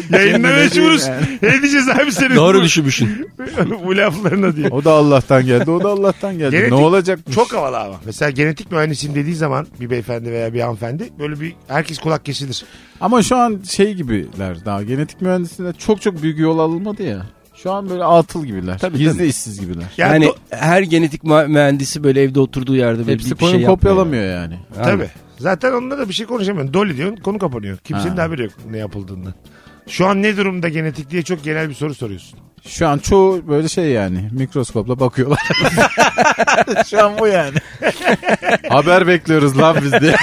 Speaker 5: Ne diyeyim
Speaker 3: meşhuruz. Ne diyeceğiz abi senin?
Speaker 4: Doğru düşünmüşsün.
Speaker 3: bu laflarına diye.
Speaker 5: O da Allah'tan geldi o da Allah'tan geldi.
Speaker 3: Genetik-
Speaker 5: ne olacak?
Speaker 3: Çok havalı ama. Mesela genetik mühendisiyim dediği zaman bir beyefendi veya bir hanımefendi böyle bir herkes kulak kesilir.
Speaker 5: Ama şu an şey gibiler daha genetik mühendisliğinde çok çok büyük yol alınmadı ya. Şu an böyle atıl gibiler.
Speaker 4: Tabii,
Speaker 5: Gizli
Speaker 4: tabii.
Speaker 5: işsiz gibiler.
Speaker 3: Yani,
Speaker 4: Yani
Speaker 3: do-
Speaker 4: her genetik mü- mühendisi böyle evde oturduğu yerde böyle
Speaker 5: Hepsi
Speaker 4: bir şey
Speaker 5: koyun
Speaker 4: yapmıyor.
Speaker 5: kopyalamıyor yani.
Speaker 3: tabii. Zaten onunla da bir şey konuşamıyorsun. Dolly diyorsun konu kapanıyor. Kimsenin de haberi yok ne yapıldığından. Şu an ne durumda genetik diye çok genel bir soru soruyorsun.
Speaker 5: Şu an çoğu böyle şey yani mikroskopla bakıyorlar. Şu an bu yani. Haber bekliyoruz lan biz diye.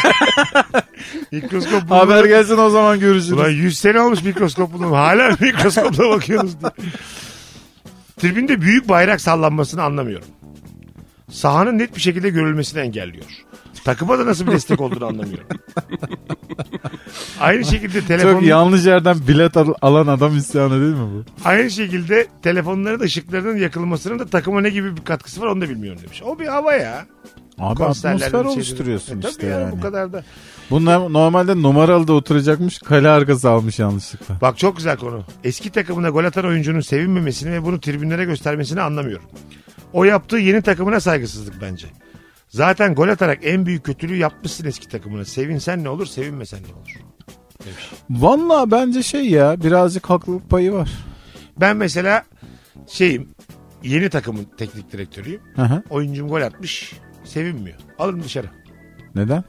Speaker 3: Mikroskop bulunur.
Speaker 5: Haber gelsin o zaman
Speaker 3: Ulan
Speaker 5: görüşürüz.
Speaker 3: 100 sene olmuş mikroskop bulunur. Hala mikroskopla bakıyoruz diye. Tribünde büyük bayrak sallanmasını anlamıyorum. Sahanın net bir şekilde görülmesini engelliyor. Takıma da nasıl bir destek olduğunu anlamıyorum. Aynı şekilde
Speaker 5: Çok
Speaker 3: telefonun
Speaker 5: yanlış yerden bilet al- alan adam isyanı değil mi bu?
Speaker 3: Aynı şekilde telefonların da ışıklarının yakılmasının da takıma ne gibi bir katkısı var onu da bilmiyorum demiş. O bir hava ya.
Speaker 5: Abi
Speaker 3: Konserlerde
Speaker 5: atmosfer
Speaker 3: bir şey
Speaker 5: oluşturuyorsun
Speaker 3: dedi. E tabii
Speaker 5: işte
Speaker 3: ya,
Speaker 5: yani.
Speaker 3: Bu kadar da.
Speaker 5: Bunlar normalde numaralı da oturacakmış kale arkası almış yanlışlıkla.
Speaker 3: Bak çok güzel konu. Eski takımına gol atan oyuncunun sevinmemesini ve bunu tribünlere göstermesini anlamıyorum. O yaptığı yeni takımına saygısızlık bence. Zaten gol atarak en büyük kötülüğü yapmışsın eski takımına. Sevinsen ne olur, sevinmesen ne olur.
Speaker 5: Valla bence şey ya birazcık haklılık payı var.
Speaker 3: Ben mesela şeyim, yeni takımın teknik direktörüyüm.
Speaker 5: Hı hı.
Speaker 3: Oyuncum gol atmış, sevinmiyor. Alın dışarı.
Speaker 5: Neden?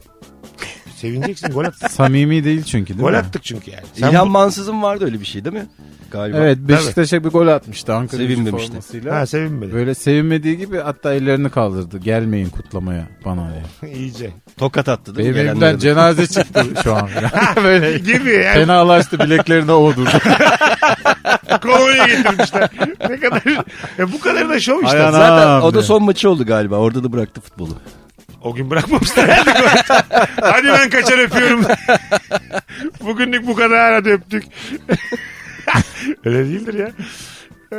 Speaker 3: Sevineceksin gol attı.
Speaker 5: Samimi değil çünkü değil
Speaker 3: gol
Speaker 5: mi?
Speaker 3: attık çünkü yani. Sen
Speaker 4: İlhan Mansız'ın vardı öyle bir şey değil mi? Galiba.
Speaker 5: Evet Beşiktaş'a bir gol atmıştı Ankara gücü
Speaker 4: Sevinmemişti.
Speaker 5: formasıyla.
Speaker 3: bu- Ha sevinmedi.
Speaker 5: Böyle sevinmediği gibi hatta ellerini kaldırdı. Gelmeyin kutlamaya bana diye.
Speaker 3: İyice.
Speaker 4: Tokat attı değil mi?
Speaker 5: Benim
Speaker 4: Gelenlere
Speaker 5: evimden
Speaker 4: de.
Speaker 5: cenaze çıktı şu an. Böyle
Speaker 3: Gibi yani
Speaker 5: fenalaştı bileklerine ovdu.
Speaker 3: konuya getirmişler. ne kadar ya bu kadar da şov işte.
Speaker 5: Ay anam.
Speaker 4: Zaten o
Speaker 5: Abi.
Speaker 4: da son maçı oldu galiba. Orada da bıraktı futbolu.
Speaker 3: O gün bırakmamışlar herhalde golü. Hadi ben kaçar öpüyorum. Bugünlük bu kadar hadi öptük. Öyle değildir ya. Ee,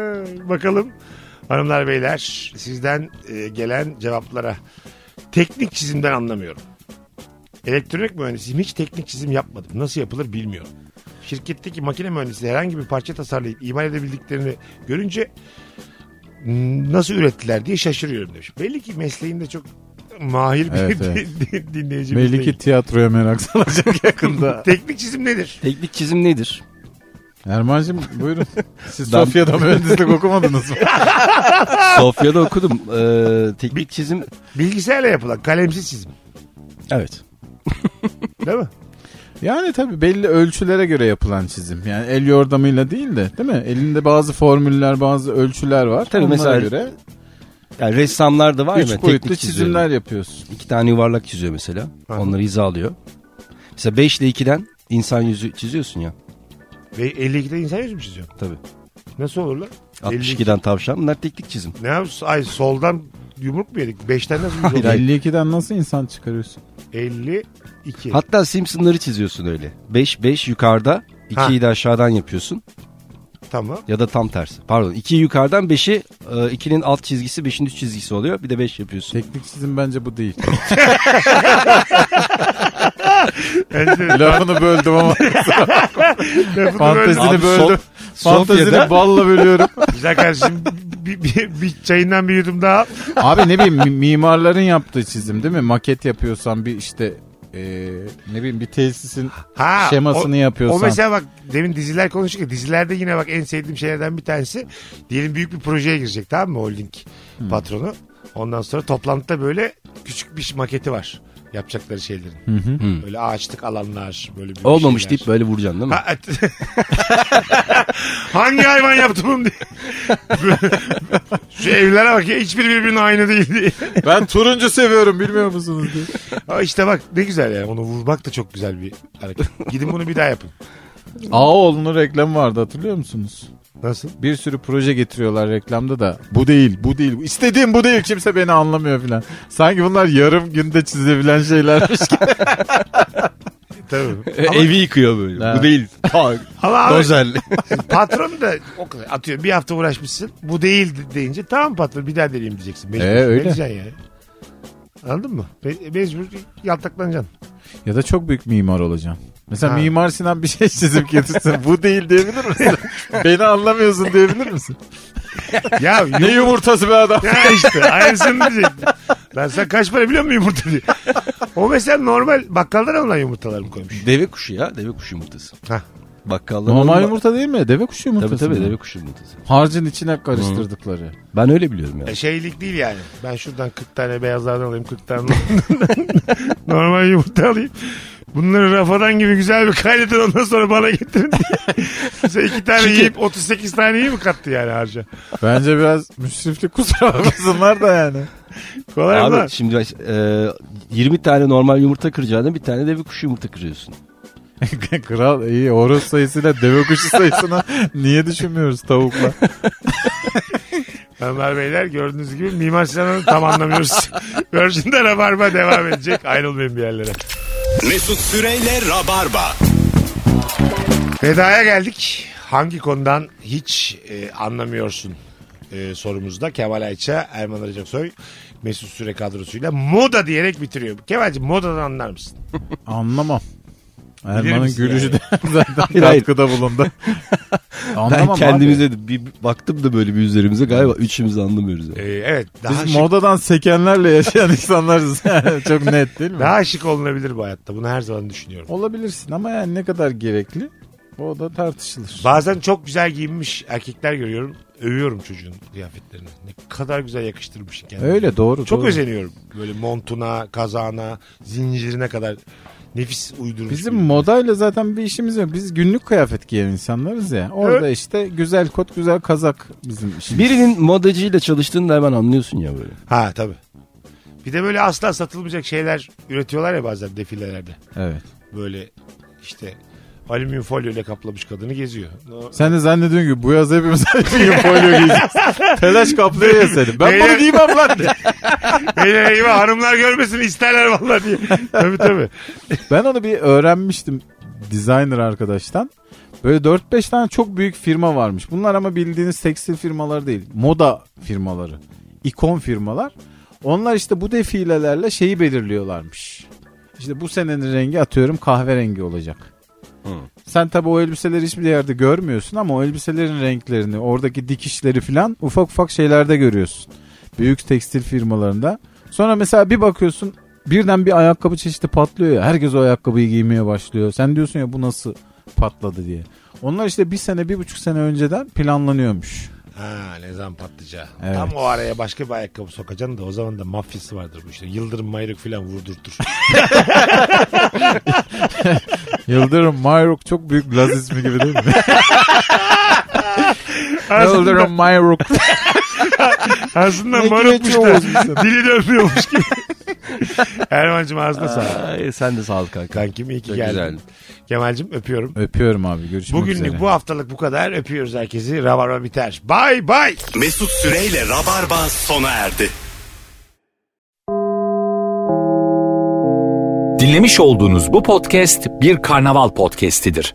Speaker 3: bakalım hanımlar beyler sizden e, gelen cevaplara. Teknik çizimden anlamıyorum. Elektronik mühendisiyim. Hiç teknik çizim yapmadım. Nasıl yapılır bilmiyorum. Şirketteki makine mühendisi herhangi bir parça tasarlayıp imal edebildiklerini görünce "Hmm, nasıl ürettiler diye şaşırıyorum demiş. Belli ki mesleğinde çok mahir bir
Speaker 5: Evet,
Speaker 3: din-
Speaker 5: evet.
Speaker 3: din- dinleyicimiz
Speaker 5: Belli
Speaker 3: değil.
Speaker 5: ki tiyatroya merak salacak yakında.
Speaker 3: Teknik çizim nedir?
Speaker 4: Teknik çizim nedir?
Speaker 5: Erman'cığım buyurun. Siz Sofya'da mühendislik okumadınız mı?
Speaker 4: Sofya'da okudum. Ee, teknik çizim.
Speaker 3: Bilgisayarla yapılan kalemsiz çizim.
Speaker 4: Evet.
Speaker 3: Değil mi?
Speaker 5: Yani tabii belli ölçülere göre yapılan çizim. Yani el yordamıyla değil de değil mi? Elinde bazı formüller, bazı ölçüler var.
Speaker 4: Tabii
Speaker 5: Tabii
Speaker 4: mesela-
Speaker 5: mesela göre
Speaker 4: Yani ressamlar da var ya
Speaker 5: üç boyutlu
Speaker 4: teknik çizimler.
Speaker 5: çizimler yapıyorsun.
Speaker 4: İki tane yuvarlak çiziyor mesela.
Speaker 3: Aha.
Speaker 4: Onları hizalıyor. Mesela 5 ile 2'den insan yüzü çiziyorsun ya.
Speaker 3: Ve 52'de insan yüzü mü çiziyor?
Speaker 4: Tabii.
Speaker 3: Nasıl olur lan? 52.
Speaker 4: 62'den tavşan. Bunlar teknik çizim.
Speaker 3: Ne yapıyorsun? Ay soldan yumruk mu yedik? 5'ten nasıl yumruk yedik?
Speaker 5: 52'den nasıl insan çıkarıyorsun?
Speaker 3: 52.
Speaker 4: Hatta Simpson'ları çiziyorsun öyle. 5 5 yukarıda, 2'yi de aşağıdan yapıyorsun
Speaker 3: Tamam.
Speaker 4: ya da tam tersi. Pardon, 2'yi yukarıdan 5'i 2'nin alt çizgisi, 5'in üst çizgisi oluyor. Bir de 5 yapıyorsun.
Speaker 5: Teknik çizim bence bu değil.
Speaker 3: Bence-
Speaker 5: Lafını böldüm ama
Speaker 3: Lafını böldüm.
Speaker 5: fantezini
Speaker 4: Abi, Sof-
Speaker 5: böldüm. Fantezini
Speaker 4: Sofya'da-
Speaker 5: balla bölüyorum.
Speaker 3: Güzel kardeşim bir, bir, bir çayından bir yudum daha. al.
Speaker 5: Abi ne bileyim mi- mimarların yaptığı çizim değil mi? Maket yapıyorsan bir işte e, ne bileyim bir tesisin
Speaker 3: Ha,
Speaker 5: şemasını
Speaker 3: o-
Speaker 5: yapıyorsan.
Speaker 3: O mesela bak demin diziler konuştuk ya dizilerde yine bak en sevdiğim şeylerden bir tanesi diyelim büyük bir projeye girecek tamam mı holding
Speaker 5: Hmm.
Speaker 3: patronu. Ondan sonra toplantıda böyle küçük bir maketi var yapacakları şeylerin. Böyle ağaçlık alanlar böyle bir
Speaker 4: Hmm. Olmamış
Speaker 3: şeyler.
Speaker 4: deyip böyle vuracaksın değil mi?
Speaker 3: Ha, et- Hangi hayvan yaptı bunu diye. Şu evlere bak ya hiçbiri birbirine aynı değil diye.
Speaker 5: ben turuncu seviyorum bilmiyor musunuz diye.
Speaker 3: Ama işte bak ne güzel yani onu vurmak da çok güzel bir hareket. Gidin bunu bir daha yapın.
Speaker 5: Ağaoğlu'nun reklamı vardı hatırlıyor musunuz?
Speaker 3: Nasıl?
Speaker 5: Bir sürü proje getiriyorlar reklamda da bu değil bu değil istediğim bu değil kimse beni anlamıyor filan. Sanki bunlar yarım günde çizebilen şeylermiş gibi.
Speaker 3: Tabii.
Speaker 4: Evi yıkıyor böyle.
Speaker 5: Ha.
Speaker 4: Bu değil.
Speaker 3: Ama abi,
Speaker 4: Dozerli.
Speaker 3: patron da o kadar atıyor bir hafta uğraşmışsın bu değil de- deyince tamam patron bir daha deneyeyim diyeceksin. Mecbur.
Speaker 5: Ee,
Speaker 3: Ne
Speaker 5: öyle.
Speaker 3: diyeceksin yani? Anladın mı? Me- mecbur yaltaklanacaksın.
Speaker 5: ya da çok büyük mimar olacağım. Mesela
Speaker 3: Ha.
Speaker 5: Mimar Sinan bir şey çizip getirse bu değil diyebilir misin? beni anlamıyorsun diyebilir misin?
Speaker 3: Ya yok
Speaker 5: Ne yumurtası be adam.
Speaker 3: ya işte aynısını diyecektim. Lan sen kaç para biliyor musun yumurta diye. O mesela normal bakkaldan alınan yumurtalar mı koymuş?
Speaker 4: Deve kuşu ya. Deve kuşu yumurtası.
Speaker 3: Hah.
Speaker 4: Bakkalların
Speaker 5: Normal
Speaker 4: alma-
Speaker 5: yumurta değil mi? Deve kuşu yumurtası.
Speaker 4: Tabii tabii
Speaker 5: mı?
Speaker 4: deve kuşu yumurtası.
Speaker 5: Harcın içine karıştırdıkları.
Speaker 4: Ben öyle biliyorum yani.
Speaker 3: E şeylik değil yani. Ben şuradan 40 tane beyazlardan alayım 40 tane normal yumurta alayım. Bunları rafadan gibi güzel bir kaynatın ondan sonra bana getirin diye. Mesela iki tane yiyip 38 tane iyi mi kattı yani harca?
Speaker 5: Bence biraz müsriflik kusura bakmasınlar da yani.
Speaker 3: Kolay mı? lan?
Speaker 4: Abi şimdi e, 20 tane normal yumurta kıracağına bir tane deve kuşu yumurta kırıyorsun.
Speaker 5: Kral iyi horoz sayısıyla deve kuşu sayısını niye düşünmüyoruz tavukla?
Speaker 3: Hanımlar beyler gördüğünüz gibi Mimar Sinan'ı tam anlamıyoruz. Virgin'de Rabarba devam edecek. Ayrılmayın bir yerlere.
Speaker 2: Mesut Süreyle Rabarba.
Speaker 3: Veda'ya geldik. Hangi konudan hiç e, anlamıyorsun e, sorumuzda. Kemal Ayça, Erman Arıcaksoy, Mesut Süre kadrosuyla moda diyerek bitiriyor. Kemal'cim modadan anlar mısın?
Speaker 5: Anlamam. Erman'ın
Speaker 3: misin
Speaker 5: gülüşü
Speaker 3: yani?
Speaker 5: de zaten
Speaker 4: Hayır.
Speaker 5: katkıda bulundu. Anlamam
Speaker 4: ben
Speaker 5: abi.
Speaker 4: kendimize de bir bir baktım da böyle bir üzerimize galiba üçümüz de anlamıyoruz. Yani.
Speaker 3: E, evet. Daha
Speaker 5: Biz
Speaker 3: şık,
Speaker 5: modadan sekenlerle yaşayan insanlarız. Yani Çok net değil mi?
Speaker 3: daha şık olunabilir bu hayatta. Bunu her zaman düşünüyorum.
Speaker 5: Olabilirsin ama yani ne kadar gerekli o da tartışılır.
Speaker 3: Bazen çok güzel giyinmiş erkekler görüyorum. Övüyorum çocuğun kıyafetlerini. Ne kadar güzel yakıştırmış kendini.
Speaker 5: Öyle doğru.
Speaker 3: Çok
Speaker 5: doğru.
Speaker 3: özeniyorum. Böyle montuna, kazağına, zincirine kadar nefis uydurmuş.
Speaker 5: Bizim
Speaker 3: bir-
Speaker 5: modayla zaten bir işimiz yok. Biz günlük kıyafet giyen insanlarız ya. Orada işte güzel kot, güzel kazak bizim işimiz.
Speaker 4: Birinin modacıyla çalıştığını da hemen anlıyorsun ya böyle.
Speaker 3: Ha tabii. Bir de böyle asla satılmayacak şeyler üretiyorlar ya bazen defilelerde.
Speaker 5: Evet.
Speaker 3: Böyle işte alüminyum folyo ile kaplamış kadını geziyor. No-
Speaker 5: Sen de zannediyorsun ki bu yaz hepimiz aynı folyo giyeceğiz. Telaş kaplıyor ya seni. Ben
Speaker 3: Beyler-
Speaker 5: bunu giymem lan.
Speaker 3: Beyler eyvah hanımlar görmesin isterler vallahi diye. tabii tabii.
Speaker 5: Ben onu bir öğrenmiştim designer arkadaştan. Böyle 4-5 tane çok büyük firma varmış. Bunlar ama bildiğiniz tekstil firmaları değil. Moda firmaları. ikon firmalar. Onlar işte bu defilelerle şeyi belirliyorlarmış. İşte bu senenin rengi atıyorum kahverengi olacak. Sen tabii o elbiseleri hiçbir yerde görmüyorsun ama o elbiselerin renklerini, oradaki dikişleri falan ufak ufak şeylerde görüyorsun. Büyük tekstil firmalarında. Sonra mesela bir bakıyorsun birden bir ayakkabı çeşidi patlıyor ya. Herkes o ayakkabıyı giymeye başlıyor. Sen diyorsun ya bu nasıl patladı diye. Onlar işte bir sene, bir buçuk sene önceden planlanıyormuş.
Speaker 3: Ha ne zaman patlayacağı.
Speaker 5: Evet.
Speaker 3: Tam o araya başka bir ayakkabı sokacaksın da o zaman da mafyası vardır bu işte. Yıldırım mayrık falan vurdurtur.
Speaker 5: Yıldırım Mayruk çok büyük Laz ismi gibi değil mi? Yıldırım Mayruk.
Speaker 3: Aslında
Speaker 5: Ne
Speaker 3: marukmuş
Speaker 5: güveçli
Speaker 3: da
Speaker 5: oğuz insan.
Speaker 3: dili dönmüyormuş gibi. Erman'cığım ağzına sağlık.
Speaker 4: Ay, sen de sağlık kanka.
Speaker 3: Kankim iyi ki
Speaker 4: Çok
Speaker 3: geldin.
Speaker 4: güzeldi.
Speaker 3: Kemal'cim öpüyorum.
Speaker 5: Öpüyorum abi görüşmek
Speaker 3: Bugünlük
Speaker 5: üzere.
Speaker 3: bu haftalık bu kadar. Öpüyoruz herkesi. Rabarba biter. Bay bay.
Speaker 2: Mesut Süreyle Rabarba sona erdi.
Speaker 1: Dinlemiş olduğunuz bu podcast bir karnaval podcastidir.